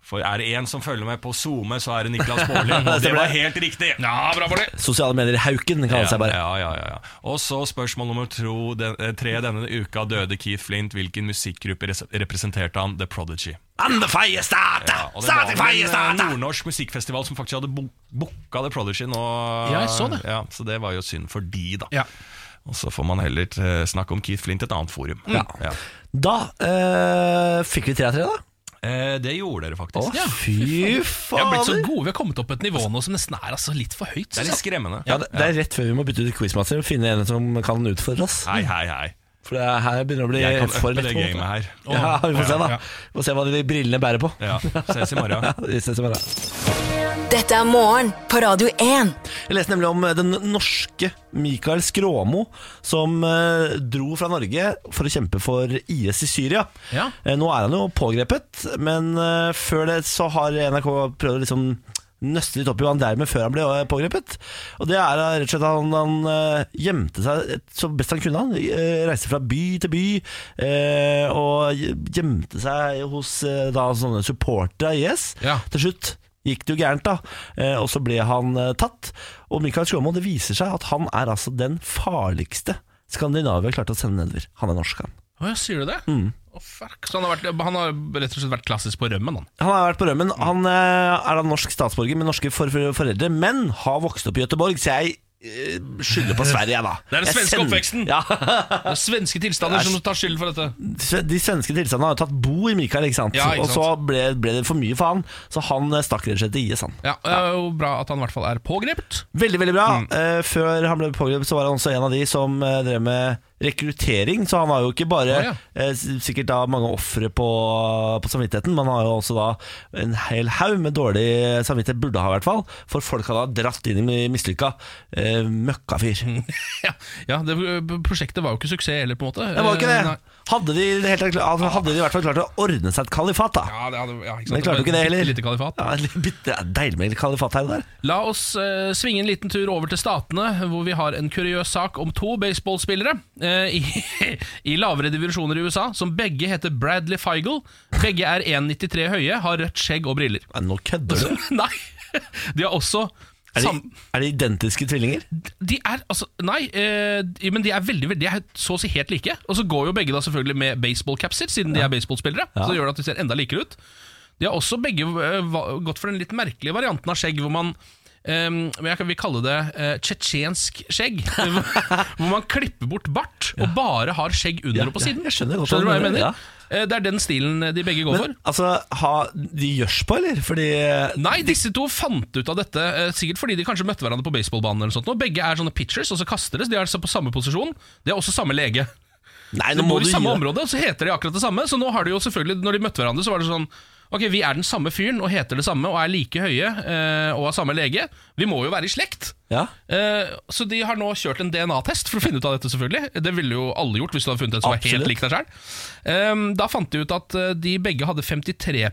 G: For er det én som følger med på SoMe, så er det Niklas Baarli. Og det
A: Stemmer
G: var
A: det.
G: helt riktig!
B: Ja, bra for det.
A: Sosiale medier Hauken kaller
G: Ja,
A: seg bare.
G: Ja, ja, ja, ja. Og så spørsmål nummer tro, den, eh, tre denne uka døde Keith Flint. Hvilken musikkgruppe res representerte han? The Prodigy.
A: I'm the firestarter!
G: Ja, og det
A: Start i
G: var vel en eh,
A: firestarter!
G: nordnorsk musikkfestival som faktisk hadde bo- booka The Prodigy nå.
B: Ja, jeg så det.
G: Ja, så det var jo synd for de, da.
B: Ja.
G: Og så får man heller eh, snakke om Keith Flint i et annet forum.
A: Ja. Da eh, fikk vi tre av tre, da.
G: Eh, det gjorde dere faktisk.
A: Å, fy
B: Vi har blitt så
A: fader!
B: gode. Vi har kommet opp på et nivå nå som nesten er altså litt for høyt.
G: Det er litt skremmende.
A: Ja, det, det er rett før vi må bytte ut quizmaster og finne en som kan utfordre oss.
G: Hei, hei, hei.
A: For det her begynner å bli
G: Jeg kan
A: for
G: uppe
A: lett.
G: det
A: på en måte.
G: gamet her.
A: Ja, vi får
G: Ja,
A: se, da.
G: ja.
A: Vi får se hva de brillene bærer på.
G: Ja, ses i morgen.
A: Ja, vi ses i morgen.
E: Dette er morgen på Radio 1.
A: Jeg leste nemlig om eh, den norske Mikael Skråmo, som eh, dro fra Norge for å kjempe for IS i Syria. Eh, nå er han jo pågrepet, men eh, før det så har NRK prøvd å liksom nøste litt opp i hva han drev med før han ble eh, pågrepet. Og det er eh, rett og slett at han, han eh, gjemte seg så best han kunne. Han eh, reiste fra by til by eh, og gjemte seg hos eh, da, sånne supportere av IS. Til slutt gikk det jo gærent, da. Eh, og så ble han eh, tatt. Og Mikael Skjåmo, det viser seg at han er altså den farligste Skandinavia klarte å sende nedover. Han er norsk, han.
B: Å, ja, sier du det?
A: Mm.
B: Å, fuck. Så han har, vært, han har rett og slett vært klassisk på rømmen, han.
A: Han har vært på rømmen. Han eh, er da norsk statsborger med norske for for foreldre, men har vokst opp i Göteborg, så jeg eh, skylder på Sverige, jeg, da.
B: Det er den
A: Jeg
B: svenske
A: sender-
B: oppveksten! Det er svenske tilstander
A: Det er-
B: som tar skylden for dette.
A: Sve- De svenske tilstandene har jo tatt bo i Mikael, ikke sant?
B: Ja, ikke
A: og så ble, ble det for mye for han, så han eh, stakk rett og slett til IS, han.
B: Ja, Det er jo bra at han i hvert fall er pågrepet.
A: Veldig, veldig bra.
B: Mm.
A: Eh, før han ble pågrepet, så var han også en av de som eh, drev med rekruttering. Så han har jo ikke bare
B: Å, ja.
A: eh, s- sikkert da mange ofre på, på samvittigheten, men han har jo også da en hel haug med dårlig samvittighet, burde ha i hvert fall, for folk han har dratt inn i mislykka. Eh, møkkafyr.
B: Ja, det, Prosjektet var jo ikke suksess heller, på en måte.
A: Det var jo ikke
B: Eh, nei.
A: det. Hadde de, det helt, klart- altså, hadde de i hvert fall klart å ordne seg et kalifat, da.
B: Ja, det hadde, ja, ikke sant?
A: Men de klarte jo ikke det heller.
B: Bitte lite kalifat.
A: Ja, et bitte, deilig med kalifat her og der.
B: La oss eh, svinge en liten tur over til Statene, hvor vi har en kuriøs sak om to baseballspillere eh, i, i lavere divisjoner i USA, som begge heter Bradley Feigel. Begge er 1,93 høye, har rødt skjegg og briller.
A: Nå kødder du.
B: Nei, de har også
A: Er de,
B: Altså, sam-
A: er de identiske tvillinger?
B: de er altså Nei, eh, de- men de er veldig, veldig De er så å si helt like. Og så går jo begge da selvfølgelig med baseballcapser, siden de er baseballspillere.
A: Ja.
B: Så det gjør det at de ser enda likere ut. De har også begge eh, va- gått for den litt merkelige varianten av skjegg, hvor man eh, men jeg kan- vil kalle det eh, tsjetsjensk skjegg. hvor hvor man klipper bort bart og bare har skjegg under
A: Ja,
B: og på
A: ja,
B: siden.
A: jeg skjønner godt
B: du hva
A: hva
B: jeg
A: du mener, ja.
B: mener? Eh, Det er den stilen de begge går for.
A: Men altså, ha, de gjørs på, eller? Fordi
B: Nei, disse to fant ut av dette eh, sikkert fordi de kanskje møtte hverandre på baseballbanen. eller sånt nå. Begge er sånne pitchers, og så kaster de. De er altså på samme posisjon. De er også samme lege.
A: Nei,
B: de
A: nå må
B: bor
A: du
B: i samme
A: gi-
B: område, og så heter de akkurat det samme. Så nå har de jo selvfølgelig, når de møtte hverandre, så var det sånn Ok, vi er den samme fyren og heter det samme og er like høye eh, og har samme lege. Vi må jo være i slekt.
A: Ja.
B: Eh, så de har nå kjørt en DNA-test for å finne ut av dette, selvfølgelig. Det ville jo alle gjort hvis du hadde funnet en som var
A: Absolutt.
B: helt lik deg sjøl. da fant de ut at eh, de begge hadde 53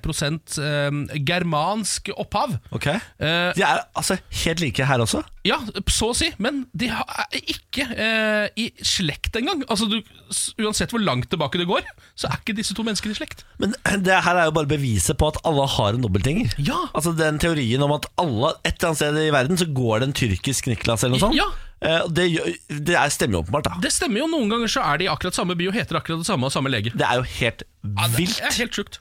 B: um, germansk opphav.
A: Ok
B: Eh,
A: De er altså helt like her også?
B: Ja, så å si, men de ha- er ikke eh, i slekt engang. Altså, du, s- uansett hvor langt tilbake det går, så er ikke disse to menneskene i slekt.
A: Men det her er jo bare beviset på at alle har en dobbeltgjenger.
B: Ja.
A: Altså den teorien om at alle et eller annet sted i verden så går det en tyrkisk Niklas eller noe sånt.
B: Ja.
A: Eh, og Det, gjør- det er, stemmer jo åpenbart, da.
B: Det stemmer jo, noen ganger så er de i akkurat samme by og heter akkurat det samme og samme lege.
A: Det er jo helt vilt.
B: det er helt sjukt.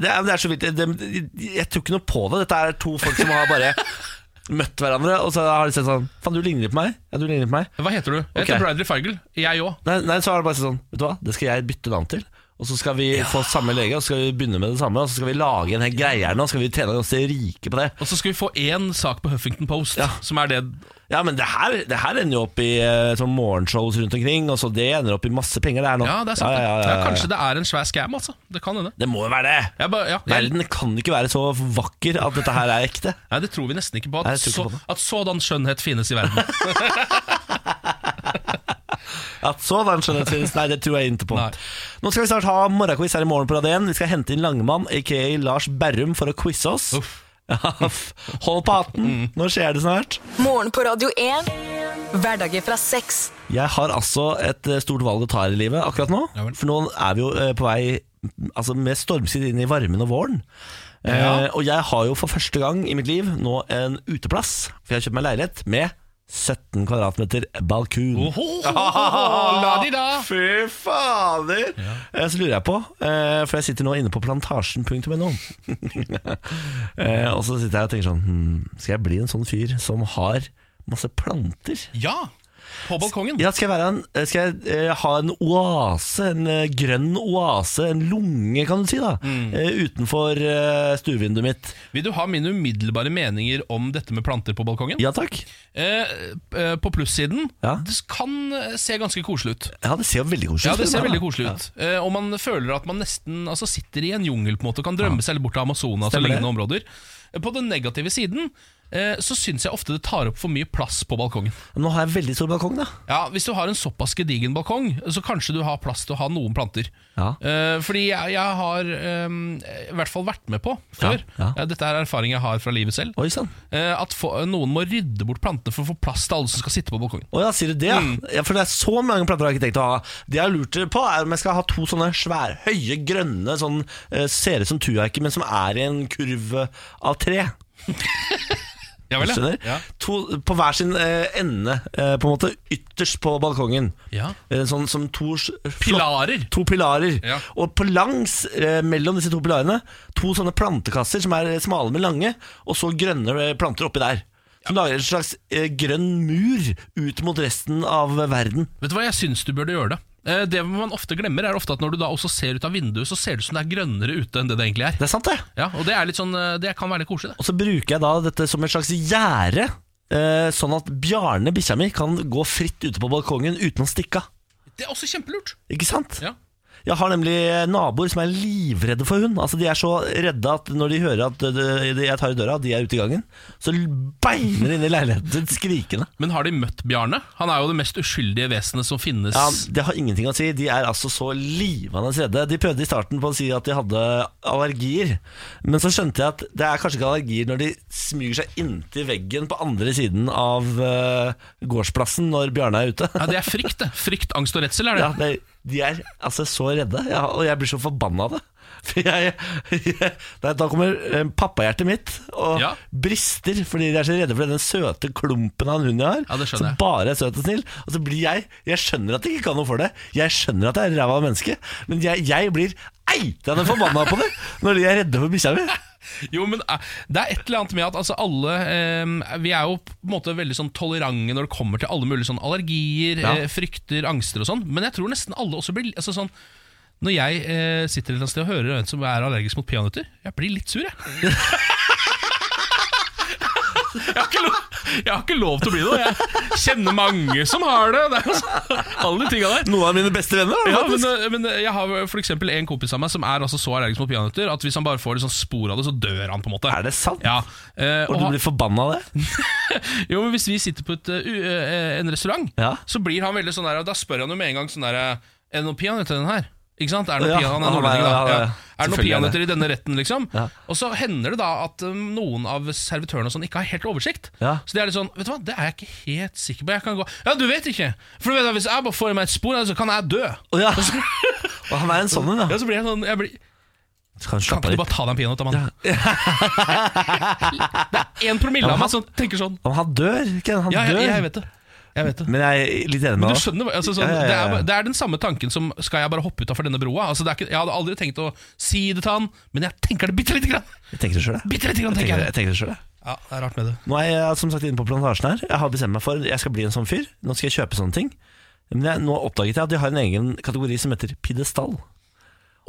A: Det er, det er så vilt. Det, det, jeg tror ikke noe på det. Dette er to folk som har bare møtt hverandre, og så har de sett sånn Faen, du ligner litt på meg. Ja, du ligner litt på meg.
B: Hva heter du? Jeg heter Bradley Feigel. Jeg òg.
A: Nei, nei, så er det bare sånn Vet du hva, det skal jeg bytte navn til Og så skal vi få samme lege Og så skal vi begynne med det samme Og så skal vi lage en hel greie her nå Og så skal vi tjene oss til rike på det
B: Og så skal vi få én sak på Huffington Post, som er det
A: Ja, men det her, det her ender jo opp i eh, sånn morgenshows rundt omkring Og så det ender opp i masse penger det her nå
B: Ja, det er sant. det.
A: ja, ja, ja,
B: Ja,
A: ja.
B: kanskje det er en svær scam, altså. Det kan hende.
A: Det må jo være det
B: Jeg bare, ja, jeg,
A: Verden kan ikke være så vakker at dette her er ekte
B: Nei, det tror vi nesten ikke på. At,
A: Nei, jeg tror ikke
B: så,
A: på det.
B: at sådan skjønnhet finnes i verden.
A: At så var en skjønnhetsvinst Nei, det tror jeg ikke på Nå skal vi snart ha morgenquiz her i morgen på Radio 1 Vi skal hente inn Langemann, a.k.a. Lars Berrum For å quizze oss Hold på hatten,
B: Mm.
A: nå skjer det snart
E: Morgen på Radio 1. Hverdager fra seks.
A: Jeg har altså et eh, stort valg å ta her i livet akkurat nå. For nå er vi jo eh, på vei mm, altså med stormskritt inn i varmen og våren. Eh, og jeg har jo for første gang i mitt liv nå en uteplass, for jeg har kjøpt meg leilighet med 17 kvadratmeter balkun.
B: Oh. la de da!
A: Fy fader! Eh, Så lurer jeg på, eh, for jeg sitter nå inne på plantasjen.no. Eh, Og så sitter jeg og tenker sånn hmm, Skal jeg bli en sånn fyr som har masse planter?
B: Ja På balkongen?
A: Ja, skal jeg, være en, skal jeg eh, ha en oase, en eh, grønn oase, en lunge, kan du si, da,
B: Mm.
A: eh, utenfor eh, stuevinduet mitt?
B: Vil du ha mine umiddelbare meninger om dette med planter på balkongen?
A: Ja takk
B: Eh, eh, på plussiden Det kan eh, se ganske koselig ut.
A: Ja, det ser jo veldig koselig
B: Ja, det
A: ut.
B: ser veldig koselig ut. Eh, og man føler at man nesten altså, sitter i en jungel på en måte og kan drømme seg litt bort til Amazonas og
A: Stemmer det.
B: lignende områder. Eh, På den negative siden eh, så syns jeg ofte det tar opp for mye plass på balkongen.
A: Nå har jeg veldig stor balkong, da.
B: Ja, Hvis du har en såpass gedigen balkong, så kanskje du har plass til å ha noen planter. Eh, fordi jeg, jeg har eh, i hvert fall vært med på før, Eh, dette er erfaring jeg har fra livet selv,
A: sånn.
B: eh, at få- noen må rydde bort plantene for å få plass til alle som skal sitte på balkongen.
A: Å ja, sier du det? ja?
B: Mm.
A: Ja, for det er så mange planter jeg har ikke tenkt å ha. Det jeg har lurt på, er om jeg skal ha to sånne svære, høye, grønne sånn, eh, Ser ut som tujaike, men som er i en kurv av tre.
B: Ja vel, ja.
A: Skjønner?
B: Ja.
A: To, på hver sin eh, ende, eh, på en måte ytterst på balkongen.
B: Ja.
A: Eh, Sånn som to s- flott-
B: Pilarer.
A: To pilarer.
B: Ja.
A: Og på langs eh, mellom disse to pilarene, to sånne plantekasser som er eh, smale, men lange, og så grønne eh, planter oppi der. Som lager en slags eh, grønn mur ut mot resten av eh, verden.
B: Vet du hva, jeg syns du burde gjøre det. Eh, Det man ofte glemmer, er ofte at når du da også ser ut av vinduet, så ser det ut som det er grønnere ute enn det det egentlig er.
A: Det er sant, det.
B: Ja, og det, er litt sånn, eh, det kan være litt koselig, det.
A: Og så bruker jeg da dette som et slags gjerde, eh, sånn at Bjarne, bikkja mi, kan gå fritt ute på balkongen uten å stikke av.
B: Det er også kjempelurt.
A: Ikke sant?
B: Ja.
A: Jeg har nemlig eh, naboer som er livredde for hund. Altså De er så redde at når de hører at eh, de- jeg tar i døra, og de er ute i gangen, så beiner de inn i leiligheten sin skrikende.
B: Men har de møtt Bjarne? Han er jo det mest uskyldige vesenet som finnes.
A: Ja, Det har ingenting å si. De er altså så livende redde. De prøvde i starten på å si at de hadde allergier, men så skjønte jeg at det er kanskje ikke allergier når de smyger seg inntil veggen på andre siden av eh, gårdsplassen når Bjarne er ute.
B: Ja, det er frykt, det. Frykt, angst og redsel er det.
A: Ja, det, de er altså så redde, ja, og jeg blir så forbanna av det. For jeg, Nei, da kommer eh, pappahjertet mitt og brister fordi de er så redde for den søte klumpen av en hund jeg har.
B: det skjønner
A: som
B: jeg.
A: bare er søt og snill. Og så blir jeg Jeg skjønner at jeg ikke kan noe for det. Jeg skjønner at jeg er ræva av menneske, men jeg, jeg blir eitende forbanna på det når de er redde for bikkja mi.
B: Jo, men eh, det er et eller annet med at altså, alle eh, Vi er jo på en måte veldig sånn tolerante når det kommer til alle mulige sånn allergier,
I: Ja.
B: eh, frykter, angster og sånn, men jeg tror nesten alle også blir altså, sånn når jeg eh, sitter et eller annet sted og hører en som er allergisk mot peanøtter, jeg blir litt sur, jeg. jeg, har ikke lov, jeg har ikke lov til å bli det. og Jeg kjenner mange som har det. det er jo sånn, alle de tinga der.
A: Noen av mine beste venner. da,
B: Ja,
A: faktisk.
B: men, eh, men jeg har for eksempel en kompis av meg som er altså så allergisk mot peanøtter at hvis han bare får litt sånn spor av det, så dør han. på en måte
A: Er det sant?
B: Ja, eh,
A: Og du
B: han-
A: blir forbanna av det?
B: jo, men Hvis vi sitter på et, eh, u- eh, en restaurant, så blir han veldig sånn der og Da spør han jo med en gang sånn der eh, Er det noen peanøtter i den her? Ikke sant? Er det
A: Ja,
B: noen peanøtter- han er
A: ja,
B: nordlending,
A: ja,
B: da.
A: ja,
B: Ja.
A: ja.
B: Er det noen
A: Selvfølgelig er det.
B: peanøtter i denne retten, liksom?
A: Ja.
B: Og så hender det da at um, noen av servitørene og sånn ikke har helt oversikt.
A: Ja.
B: Så det er litt sånn Vet du hva, det er jeg ikke helt sikker på. Jeg kan gå Ja, du vet ikke! For du vet at hvis jeg bare får i meg et spor, så kan jeg dø.
A: Og, så, og han er en sånn en, ja.
B: så blir jeg sånn jeg blir,
A: Kan
B: Kan ikke du bare ta deg en peanøtt, da, mann? det er én
A: Ja,
B: promille av
A: men
B: meg som tenker sånn.
A: Men han dør, Ken. Han
B: Ja, jeg-
A: dør.
B: jeg vet det.
A: Men jeg er litt enig
B: Men
A: med
B: du
A: deg.
B: skjønner, hva- altså,
A: Ja,
B: sånn,
A: ja, ja,
B: Det,
A: ja.
B: er, bare- det er den samme tanken som Skal jeg bare hoppe utafor denne broa? Altså, det er ikke, jeg hadde aldri tenkt å si det til han, men jeg tenker det bitte lite grann.
A: Jeg tenker det sjøl, jeg.
B: Bitte lite grann,
A: Jeg tenker,
B: tenker jeg.
A: jeg tenker det selv, jeg.
B: Ja, det er rart med det.
A: Nå er jeg som sagt inne på plantasjen her. Jeg har bestemt meg for jeg skal bli en sånn fyr. Nå skal jeg kjøpe sånne ting. Men jeg, nå oppdaget jeg at de har en egen kategori som heter pidestall.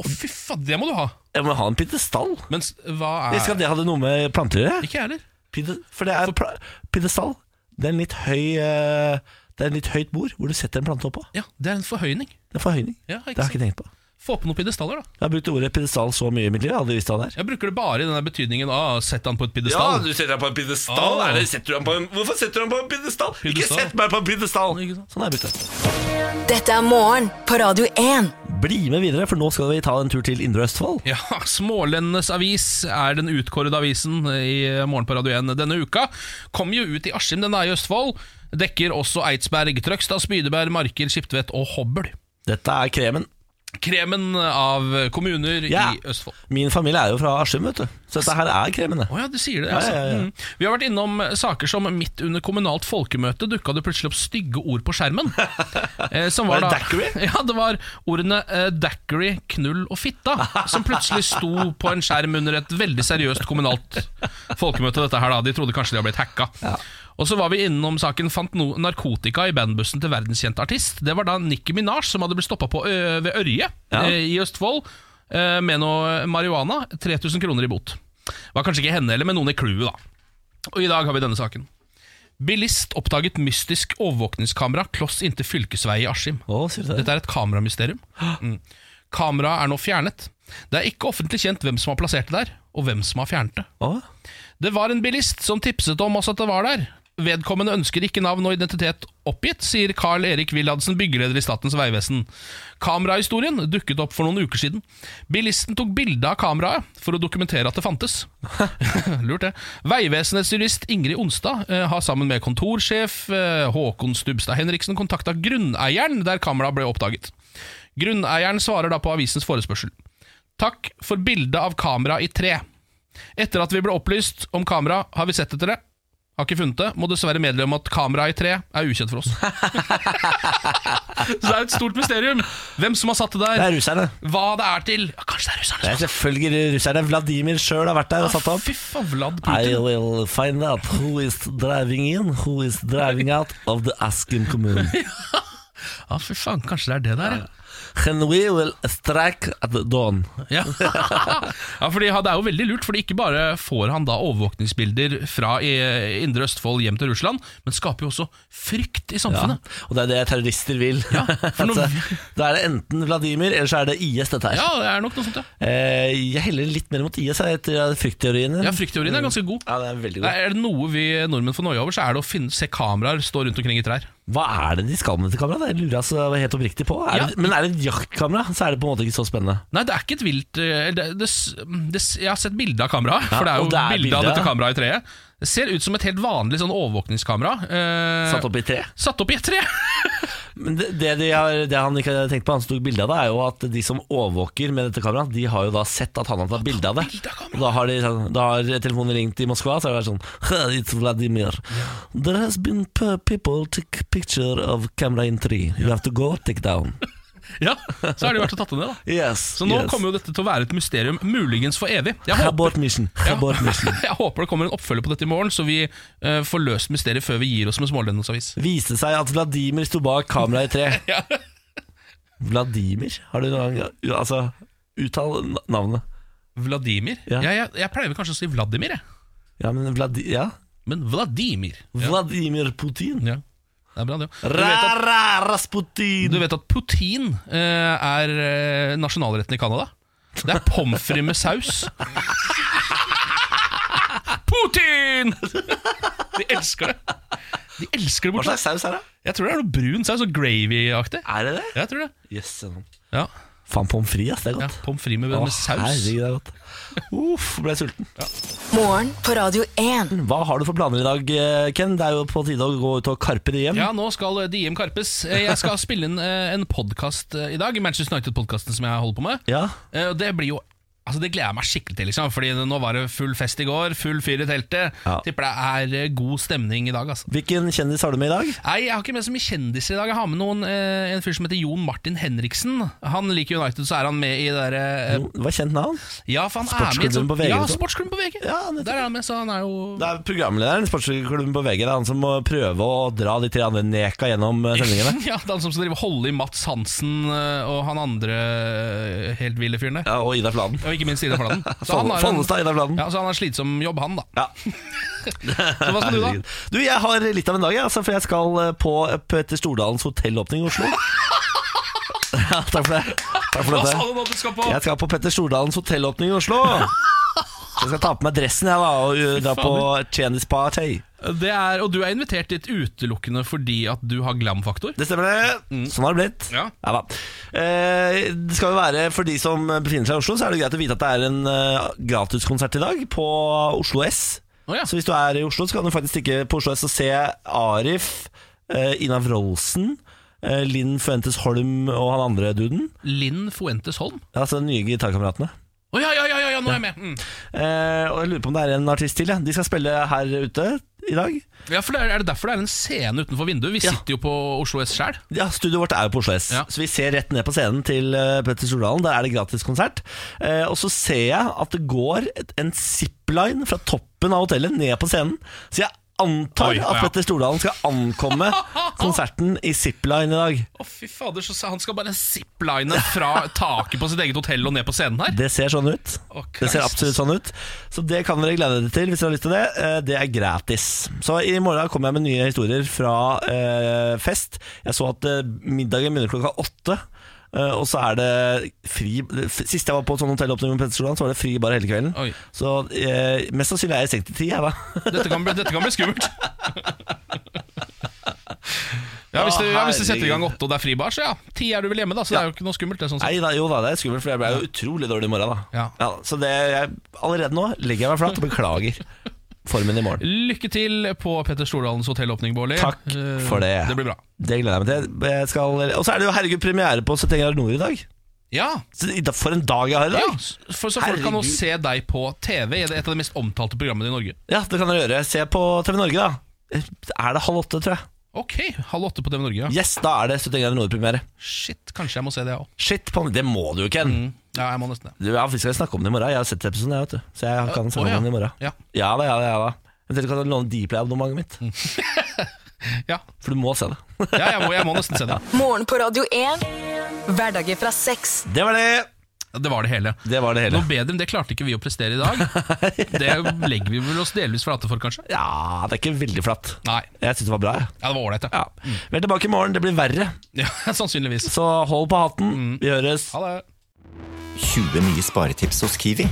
B: Å, fy faen, det må du ha!
A: Jeg må ha en pidestall.
B: Men hva er
A: Ikke at det hadde noe med planter å gjøre.
B: Ikke Altså- jeg heller.
A: Pide- For det er pla- pidestall. Det er en litt høy eh, Det er en litt høyt bord hvor du setter en plante oppå.
B: Ja, det er en forhøyning.
A: Det er forhøyning.
B: Ja,
A: det har jeg ikke tenkt på.
B: Få på noen pidestaller, da.
A: Jeg har brukt ordet pidestall så mye i mitt liv. Jeg hadde visst hva det er.
B: Jeg bruker det bare i den der betydningen av sett han på et pidestall.
A: setter deg på en
B: pidestall.
A: Ah.
B: Er det-
A: setter du deg på en, hvorfor setter du deg på en pidestall?
B: Pidestall. sett
A: meg på en pidestall! Sånn er byttet.
E: Dette er morgen på Radio 1.
A: Bli med videre, for nå skal vi ta en tur til Indre Østfold.
B: Ja, Smålendenes avis er den utkårede avisen i Morgen på Radio 1 denne uka. Kom jo ut i Askim, den er i Østfold. Dekker også Eidsberg, Trøgstad, Spydeberg, Marker, Skiptvet og Hobøl.
A: Dette er kremen.
B: Kremen av kommuner
A: Ja.
B: i Østfold.
A: Min familie er jo fra Askim, vet du. Så dette her er kremen, det.
B: Å ja, du sier det.
A: Ja,
B: Altså.
A: ja, ja.
B: Mm. Vi har vært innom saker som midt under kommunalt folkemøte dukka det plutselig opp stygge ord på skjermen. Eh, som
A: Var det
B: da-
A: daiquiri?
B: Ja, det var ordene eh, daiquiri, knull og fitta, som plutselig sto på en skjerm under et veldig seriøst kommunalt folkemøte. Dette her da De trodde kanskje de hadde blitt hacka. Og Og så var vi innom saken fant no narkotika i bandbussen til verdenskjent artist. Det var da Nikki Minaj som hadde blitt stoppa ved Ørje
J: Ja.
B: eh, i Østfold eh, med noe marihuana. 3000 kroner i bot. Var kanskje ikke henne heller, men noen i crewet, da. Og i dag har vi denne saken. Bilist oppdaget mystisk overvåkningskamera kloss inntil fylkesvei i Askim. Dette er et kameramysterium. Mm. Kameraet er nå fjernet. Det er ikke offentlig kjent hvem som har plassert det der, og hvem som har fjernet det. Det var en bilist som tipset om oss at det var der. Vedkommende ønsker ikke navn og identitet oppgitt, sier Carl Erik Willadsen, byggeleder i Statens vegvesen. Kamerahistorien dukket opp for noen uker siden. Bilisten tok bilde av kameraet for å dokumentere at det fantes. Lurt, det. Vegvesenets jurist Ingrid Onstad eh, har sammen med kontorsjef eh, Håkon Stubstad Henriksen kontakta grunneieren der kameraet ble oppdaget. Grunneieren svarer da på avisens forespørsel. Takk for bildet av kamera i tre. Etter at vi ble opplyst om kamera, har vi sett etter det. Har ikke funnet det. Må dessverre meddele om at kamera i tre er ukjent for oss. Så det er et stort mysterium. Hvem som har satt det der.
A: Det er russerne.
B: Hva det er til. Ja, Kanskje det er russerne.
A: Det er selvfølgelig russerne. Vladimir sjøl har vært der og satt opp.
B: Fy faen, Vlad
A: I
B: Putin.
A: will find out who is driving in, who is driving out of the Askim kommune.
B: Ja, fy faen, kanskje det er det der, ja.
A: And we will strike at dawn.
B: Ja, ja fordi han- Det er jo veldig lurt, Fordi ikke bare får han da overvåkningsbilder fra i- indre Østfold hjem til Russland, men skaper jo også frykt i samfunnet.
A: Ja, Ah. og det er det terrorister vil.
B: noe-
A: Altså, da er det enten Vladimir, eller så er det IS, dette her.
B: Ja, det er nok noe sånt, ja.
A: Eh, Jeg heller litt mer mot IS jeg, etter fryktteorien.
B: Ja, Fryktteorien er ganske god.
A: Ja, det Er veldig
B: Nei,
A: god
B: er det noe vi nordmenn får noia over, så er det å finne, se kameraer stå rundt omkring i trær.
A: Hva er det de skal med dette kameraet? Det lurer jeg altså helt oppriktig på. Er
B: Ja.
A: det, men er det et jaktkamera, så er det på en måte ikke så spennende.
B: Nei, det er ikke et vilt eh, det, det, det, Jeg har sett bilde av kameraet,
A: Ja,
B: for det er jo
A: og det er
B: bilde av
A: bildet.
B: dette kameraet i treet. Det ser ut som et helt vanlig sånn overvåkningskamera. eh,
A: Satt opp i tre.
B: Satt opp i et tre!
A: Men det, det, de har, det han ikke har tenkt på, han som tok bilde av det, er jo at de som overvåker med dette kameraet, de har jo da sett at han har tatt bilde av det. Og da har, de, sånn- da har telefonen ringt i Moskva, så har det vært sånn «Hey, It's Vladimir. There has been p- people take picture of camera in tree. You have to go take down.
B: Ja, Så har de vært og tatt det ned, da.
A: Yes,
B: Så nå
A: yes.
B: kommer jo dette til å være et mysterium, muligens for evig. Jeg
A: Abort mission. Abort mission.
B: Jeg håper det kommer en oppfølger på dette i morgen, så vi eh, får løst mysteriet før vi gir oss med smålendingsavis.
A: Viste seg at Vladimir sto bak kameraet i tre. Vladimir? Har du noen gang Altså, uttal na- navnet.
B: Vladimir?
A: Ja.
B: Jeg, jeg, jeg pleier vel kanskje å si Vladimir, jeg.
A: Ja, men Vladi... Ja.
B: Men Vladimir
A: Vladimir Putin.
B: Ja. Det er bra, det òg.
A: Ra-ra, Rasputin!
B: Du vet at poutine eh, er eh, nasjonalretten i Canada? Det er pommes frites med saus. Putin! De elsker det. De elsker det borte.
A: Hva slags saus er det?
B: Jeg tror det er noe brun saus og gravy-aktig.
A: Er det det?
B: Jeg tror det.
A: Yes, sånn.
B: Ja.
A: Faen, pommes frites, ass, det er godt.
B: Ja, Pommes frites med, med saus.
A: Herregud, det er godt. Uff, ble jeg sulten.
E: Morgen på Radio 1.
A: Hva har du for planer i dag, eh, Ken? Det er jo på tide å gå ut og karpe det hjem.
B: Ja, nå skal Diem karpes. Eh, Jeg skal spille inn eh, en podkast i dag. Manchester United-podkasten som jeg holder på med.
A: Ja.
B: Eh, og Det blir jo Altså Det gleder jeg meg skikkelig til. liksom Fordi Nå var det full fest i går, full fyr i teltet.
A: Ja.
B: Tipper det er eh, god stemning i dag. altså
A: Hvilken kjendis har du med i dag?
B: Nei, Jeg har ikke med så mye kjendiser i dag. Jeg har med noen eh, en fyr som heter Jon Martin Henriksen. Han liker United, så er han med i det derre eh,
A: Det var kjent navn.
B: ja, for han er med i et
A: Sportsklubben
B: sånt-
A: på VG,
B: Ja,
A: liksom.
B: Sportsklubben på VG. Der er han med, så han er jo
A: Det er programlederen i sportsklubben på VG. Det er han som må prøve å dra de tre andre neka gjennom eh, sendingene.
B: ja, det er han som skal drive og holde i Mats Hansen eh, og han andre eh, helt ville fyren der.
A: Ja, og Ida Fladen.
B: Og ikke minst Ida Fladen.
A: Fon-
B: har en-
A: Fonnestad, Ida Fladen.
B: Ja, så han har en slitsom jobb, han, da. så hva skal du, da?
A: Herregud. Du, jeg har litt av en dag, jeg, altså, for jeg skal eh, på Petter Stordalens hotellåpning i Oslo. ja, takk for det. Takk for
B: Hva
A: dette.
B: sa du nå du skal på?
A: Jeg skal på Petter Stordalens hotellåpning i Oslo. Så jeg skal ta på meg dressen jeg da, og uh, dra på kjendisparty.
B: Det er, og du er invitert dit utelukkende fordi at du har glam-faktor?
A: Det stemmer det. Sånn har det blitt.
B: Mm. Ja.
A: Ja, da. Eh, det skal jo være For de som befinner seg i Oslo, så er det greit å vite at det er en eh, gratiskonsert i dag på Oslo S. Så hvis du er i Oslo, så kan du faktisk stikke på Oslo S og se Arif, eh, Ina Wroldsen, eh, Linn Fuentes Holm og han andre duden.
B: Linn Fuentes Holm?
A: Altså de nye gitarkameratene.
B: Å ja, ja, ja, ja, ja, nå er jeg med! Mm.
A: Eh, og jeg lurer på om det er en artist til. Ja. De skal spille her ute i dag.
B: Ja, for det er, er det derfor det er en scene utenfor vinduet? Vi sitter jo på Oslo S sjæl.
A: Ja, Studioet vårt er jo på Oslo S, så vi ser rett ned på scenen til eh, Petter Stordalen. Der er det gratiskonsert. Eh, og så ser jeg at det går et, en zipline fra toppen av hotellet ned på scenen. Så jeg antar
B: Oi, ja.
A: at Petter Stordalen skal ankomme konserten i Zipline i dag.
B: Å, fy fader, så han skal bare zipline fra taket på sitt eget hotell og ned på scenen her?
A: Det ser sånn ut. det ser absolutt sånn ut. Så det kan dere glede dere til hvis dere har lyst til det. Eh, Det er gratis. Så i morgen kommer jeg med nye historier fra eh, fest. Jeg så at eh, middagen begynner klokka åtte. eh, og så er det fri Sist jeg var på et sånt hotellåpning med Petter Stordalen, så var det fri bar hele kvelden. Så eh, mest sannsynlig er jeg i seng til ti, jeg, da.
B: Dette kan bli, dette kan bli skummelt. Ja, hvis, du, ja, hvis du setter i gang åtte og det er fribar, så ja. Ti er du vel hjemme, da, så det er jo ikke noe skummelt. Det, sånn sett.
A: Nei da, jo da, det er skummelt, for jeg ble jo utrolig dårlig i morgen. da ja. Så det, jeg, allerede nå legger jeg meg flat og beklager formen i morgen.
B: Lykke til på Petter Stordalens hotellåpning, Bårli. Takk
A: For det,
B: Eh, Det blir bra.
A: Det gleder jeg meg til. Jeg skal, og så er det jo herregud premiere på 70 grader nord i dag.
B: Ja
A: så, i dag- For en dag jeg har i dag!
B: Ja, for så folk kan nå
A: Herregud.
B: se deg på TV i det- et av de mest omtalte programmene i Norge.
A: Ja, det kan dere gjøre. Se på TV Norge, da. Eh, Er det halv åtte, tror jeg.
B: Ok, halv åtte på TV Norge. Ja.
A: Yes, da er det 70 grader nord-premiere.
B: Shit, kanskje jeg må se det òg.
A: Shit, på, det må du jo, Ken.
B: Ja, jeg må nesten det.
A: Du, ja, vi skal snakke om det i morgen. Jeg har sett episoden, jeg, vet du. Så jeg kan snakke
B: Å, ja.
A: om den i morgen.
B: Ja.
A: Ja da, ja da. ja da Eventuelt kan du låne Dplay-abonnementet mitt.
B: Mm. ja
A: For du må se det.
B: ja, jeg må, jeg må nesten se det.
E: Morgen på Radio 1. Hverdager fra seks.
A: Det var det!
B: Det var det hele.
A: Det var det hele.
B: Noe bedre enn det klarte ikke vi å prestere i dag. Det legger vi vel oss delvis flate for, kanskje.
A: Ja, det er ikke veldig flatt.
B: Nei.
A: Jeg syns det var bra, jeg.
B: Ja, det var ålreit,
A: ja. Vi er tilbake i morgen. Det blir verre.
B: Ja, sannsynligvis.
A: Så hold på hatten. Vi høres.
B: Ha det.
J: 20 nye sparetips hos Kiwi.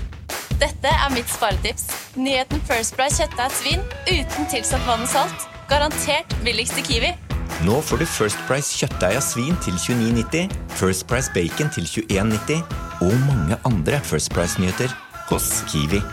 K: Dette er mitt sparetips. Nyheten First Price kjøttdeig svin uten tilsatt vann og salt. Garantert billigst i Kiwi.
J: Nå får du First Price kjøttdeig av svin til 29,90, First Price bacon til 21,90 og mange andre First Price-nyheter hos Kiwi.